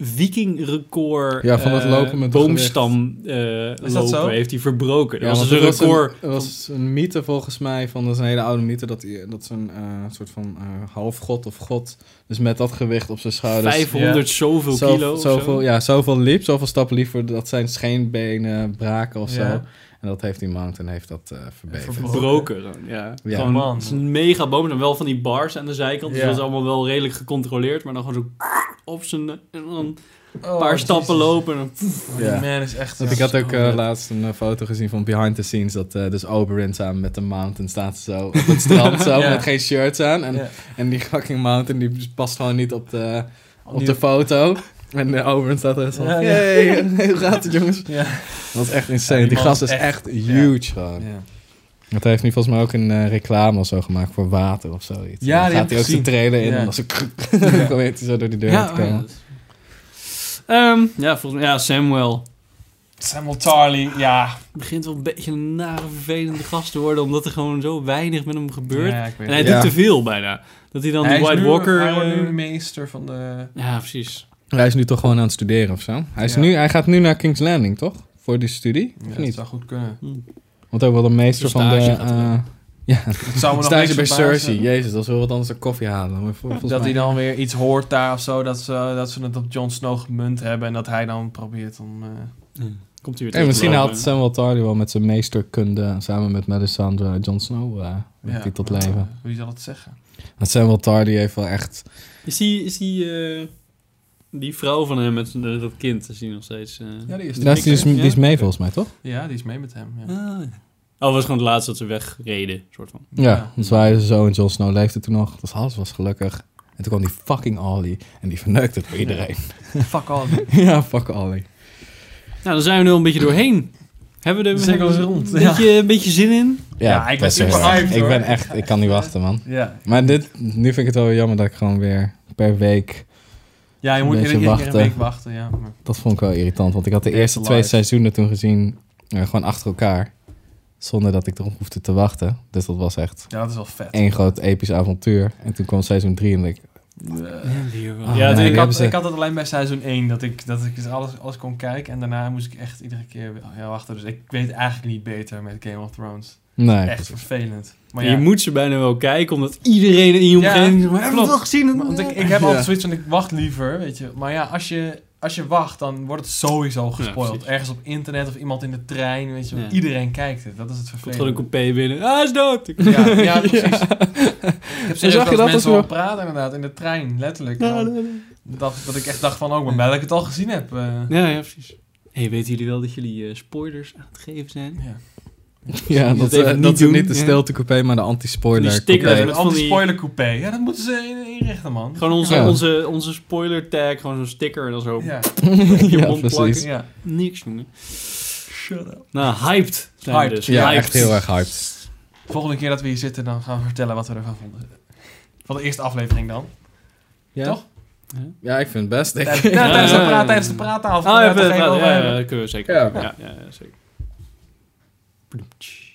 Speaker 1: vikingrecord
Speaker 3: Ja, van het
Speaker 1: eh,
Speaker 3: lopen met
Speaker 1: boomstam eh,
Speaker 2: dat
Speaker 1: lopen
Speaker 2: zo?
Speaker 1: heeft hij verbroken.
Speaker 3: Ja,
Speaker 1: dat was
Speaker 3: want
Speaker 1: dus
Speaker 3: het
Speaker 1: een record.
Speaker 3: een- het was een mythe volgens mij, van dat is een hele oude mythe, dat, die- dat zo'n eh, soort van eh, halfgod of god, dus met dat gewicht op zijn schouders...
Speaker 1: 500 zoveel
Speaker 3: zo-
Speaker 1: kilo. of zo.
Speaker 3: zoveel, Ja, zoveel liep, zoveel stappen liep, voordat zijn scheenbenen braken of
Speaker 2: Ja.
Speaker 3: zo. En dat heeft die mountain heeft dat eh verbeterd.
Speaker 2: Verbroken.
Speaker 1: Verbroken. gewoon, Ja.
Speaker 3: Ja.
Speaker 1: Gewoon
Speaker 2: Man.
Speaker 1: het is een mega boom. En wel van die bars aan de zijkant. Dus
Speaker 2: Ja.
Speaker 1: dat is allemaal wel redelijk gecontroleerd. Maar dan gewoon zo op zijn... En dan een
Speaker 2: Oh,
Speaker 1: eh, paar
Speaker 2: Jezus.
Speaker 1: stappen lopen. en dan-
Speaker 2: Oh, Die
Speaker 3: Ja.
Speaker 2: man is echt...
Speaker 3: Want
Speaker 2: Oh, ja.
Speaker 3: ik had ook
Speaker 1: zo
Speaker 3: eh,
Speaker 1: vet.
Speaker 3: laatst een eh, foto gezien van behind the scenes. Dat eh, dus Oberyn samen met de mountain staat ze zo op het strand zo
Speaker 2: Ja.
Speaker 3: met geen shirts aan. En,
Speaker 2: Ja.
Speaker 3: en die fucking mountain die past gewoon niet op de, op
Speaker 2: Die-
Speaker 3: de foto. En de Oberyn staat er zo van,
Speaker 2: Ja, ja.
Speaker 3: hey, hoe gaat het jongens?
Speaker 2: Ja.
Speaker 3: Dat is echt insane.
Speaker 2: Ja, die
Speaker 3: die
Speaker 2: man
Speaker 3: gast
Speaker 2: is
Speaker 3: is
Speaker 2: echt-
Speaker 3: echt huge gewoon. Want hij heeft nu volgens mij ook een eh, reclame of zo gemaakt voor water of zoiets.
Speaker 2: Ja,
Speaker 3: En dan gaat
Speaker 2: die heb
Speaker 3: hij
Speaker 2: ik
Speaker 3: ook zijn
Speaker 2: gezien.
Speaker 3: trailer in
Speaker 2: Ja.
Speaker 3: en dan zo, dan probeert hij zo door die deur te
Speaker 1: oh
Speaker 3: komen.
Speaker 1: dat is- Ehm, ja, volgens mij... Ja, Samuel.
Speaker 2: Samuel Tarly, ja.
Speaker 1: begint wel een beetje een nare, vervelende gast te worden, omdat er gewoon zo weinig met hem gebeurt.
Speaker 2: Ja, ik weet
Speaker 1: en hij
Speaker 3: het.
Speaker 1: doet
Speaker 3: Ja.
Speaker 1: te veel bijna. Dat hij dan
Speaker 2: Hij
Speaker 1: die
Speaker 2: is
Speaker 1: White
Speaker 2: nu-
Speaker 1: Walker.
Speaker 2: Hij wordt
Speaker 1: eh,
Speaker 2: nu de meester van de...
Speaker 1: ja, precies.
Speaker 3: Hij is nu toch gewoon aan het studeren of zo? Hij, is
Speaker 2: Ja.
Speaker 3: nu, hij gaat nu naar King's Landing, toch? Voor die studie?
Speaker 2: Ja,
Speaker 3: of
Speaker 2: dat
Speaker 3: niet?
Speaker 2: zou goed kunnen.
Speaker 1: Hm.
Speaker 3: Want hij wordt een meester
Speaker 1: Een
Speaker 3: van de...
Speaker 1: stage gaat hij
Speaker 3: eh,
Speaker 1: doen.
Speaker 3: ja,
Speaker 2: Het zou me nog
Speaker 3: stage
Speaker 2: niks
Speaker 3: bij
Speaker 2: verbazen
Speaker 3: Cersei. Jezus, dat is wel wat anders dan koffie halen. Maar vol- volgens
Speaker 2: Dat
Speaker 3: mij-
Speaker 2: hij dan weer iets hoort daar of zo. Dat ze, dat ze het op Jon Snow gemunt hebben. En dat hij dan probeert om... eh,
Speaker 1: Komt hij weer
Speaker 3: Hey,
Speaker 1: terug.
Speaker 3: misschien
Speaker 1: lopen.
Speaker 3: haalt Samuel Tarly wel met zijn meesterkunde samen met Melisandre Jon Snow eh
Speaker 2: ja,
Speaker 3: ja, die tot
Speaker 2: maar,
Speaker 3: leven.
Speaker 2: eh, wie zal het zeggen?
Speaker 3: Want Samuel Tarly heeft wel echt...
Speaker 1: Is die... Is die eh, die vrouw van hem met z'n- eh, dat kind, is die nog steeds... eh,
Speaker 2: Ja, die is-
Speaker 1: de
Speaker 3: Nou, die, is,
Speaker 1: mixer?
Speaker 3: die is
Speaker 1: Ja?
Speaker 3: mee volgens mij, toch?
Speaker 2: Ja, die is mee met hem. Ja.
Speaker 1: Ah, ja. Oh, was gewoon het laatste dat ze wegreden, soort van.
Speaker 3: Ja, dus dat waren ze zo en Jon Snow leefde toen nog. Dus alles was gelukkig. En toen kwam die fucking Ollie en die verneukte het voor iedereen.
Speaker 2: Fuck all.
Speaker 3: ja, fuck Ollie.
Speaker 1: Nou, dan zijn we er al een beetje doorheen. Hebben we er
Speaker 2: De cirkel is rond,
Speaker 1: Een
Speaker 2: ja.
Speaker 1: beetje, een beetje zin in?
Speaker 3: Ja,
Speaker 2: Ja, ik ben
Speaker 3: dat is echt-
Speaker 2: super hyped,
Speaker 3: Ik
Speaker 2: hoor.
Speaker 3: ben echt, ik kan niet wachten, man.
Speaker 2: Ja.
Speaker 3: Maar dit, nu vind ik het wel weer jammer dat ik gewoon weer per week.
Speaker 2: Ja, je
Speaker 3: Een
Speaker 2: moet
Speaker 3: beetje
Speaker 2: iedere keer een
Speaker 3: wachten.
Speaker 2: week wachten. Ja, maar-
Speaker 3: Dat vond ik wel irritant, want ik had de
Speaker 2: Back
Speaker 3: eerste
Speaker 2: to
Speaker 3: twee
Speaker 2: life.
Speaker 3: seizoenen toen gezien, eh, gewoon achter elkaar. Zonder dat ik erop hoefde te wachten. Dus dat was echt
Speaker 2: ja dat is wel vet.
Speaker 3: één groot episch avontuur. En toen kwam seizoen 3 en ik.
Speaker 2: Ja.
Speaker 3: Ah,
Speaker 2: ja,
Speaker 3: nee,
Speaker 2: ik,
Speaker 3: die hebben
Speaker 2: had,
Speaker 3: ze-
Speaker 2: ik had het alleen bij seizoen 1, dat ik, dat ik dus alles, alles kon kijken. En daarna moest ik echt iedere keer weer- ja, wachten. Dus ik weet eigenlijk niet beter met Game of Thrones.
Speaker 3: Nee.
Speaker 2: echt vervelend. Maar
Speaker 1: En
Speaker 2: ja,
Speaker 1: Je moet ze bijna wel kijken, omdat iedereen in je
Speaker 2: Ja,
Speaker 1: omgeving... Ja, maar hebben we
Speaker 2: klopt.
Speaker 1: het al gezien?
Speaker 2: Maar Want ik, ik heb
Speaker 3: Ja.
Speaker 2: altijd zoiets van, ik wacht liever, weet je. Maar ja, als je, als je wacht, dan wordt het sowieso gespoild.
Speaker 1: precies.
Speaker 2: Ergens op internet of iemand in de trein, weet je.
Speaker 1: Ja.
Speaker 2: want Iedereen kijkt het, dat is het
Speaker 1: Komt gewoon een
Speaker 2: vervelend.
Speaker 1: coupé binnen. Ah, hij is dood! Ik-
Speaker 2: Ja, ja, precies. Ik heb
Speaker 3: zag je
Speaker 2: serieus wel eens
Speaker 3: dat als
Speaker 2: mensen
Speaker 3: we-
Speaker 2: horen praten inderdaad, in de trein, letterlijk.
Speaker 1: Ja,
Speaker 2: Dan dacht- dat ik echt dacht van, oh, ik ben blij dat ik het al gezien heb. eh.
Speaker 1: ja, ja, precies. hey, weten jullie wel dat jullie eh, spoilers aan het geven zijn?
Speaker 2: Ja.
Speaker 3: Ja,
Speaker 1: Dat
Speaker 3: dat,
Speaker 1: even
Speaker 3: eh,
Speaker 1: niet
Speaker 3: dat ze
Speaker 1: doen,
Speaker 3: niet de
Speaker 1: ja.
Speaker 3: stilte coupé, maar de
Speaker 1: Die
Speaker 3: anti-spoiler
Speaker 1: stickers
Speaker 3: coupé.
Speaker 2: Ja,
Speaker 1: met
Speaker 2: een
Speaker 1: van die-
Speaker 2: anti-spoiler coupé. Ja, dat moeten ze in- inrichten, man.
Speaker 1: Gewoon onze,
Speaker 3: Ja.
Speaker 1: onze, onze spoiler tag, gewoon zo'n sticker en dan zo.
Speaker 2: Ja,
Speaker 1: je
Speaker 3: ja,
Speaker 1: mond
Speaker 3: precies.
Speaker 2: ja.
Speaker 1: Niks, jongen.
Speaker 2: Shut up.
Speaker 1: Nou, hyped zijn we
Speaker 2: Hyped.
Speaker 1: dus.
Speaker 3: Ja,
Speaker 1: hyped.
Speaker 3: echt heel erg hyped.
Speaker 2: Volgende keer dat we hier zitten, dan gaan we vertellen wat we ervan vonden. Van de eerste aflevering dan.
Speaker 3: Ja.
Speaker 2: Toch?
Speaker 3: Ja, ik vind het best, denk
Speaker 2: Tijdens,
Speaker 3: ik.
Speaker 2: nou, tijdens, de,
Speaker 1: Ja, ja, ja.
Speaker 2: praat, tijdens de praattafel.
Speaker 1: Ah,
Speaker 2: Ja,
Speaker 1: ja,
Speaker 2: toch even
Speaker 1: ja,
Speaker 2: over
Speaker 1: ja,
Speaker 2: hebben.
Speaker 1: dat kunnen we zeker.
Speaker 3: Ja.
Speaker 1: Ja, ja, zeker. Ploemtsch.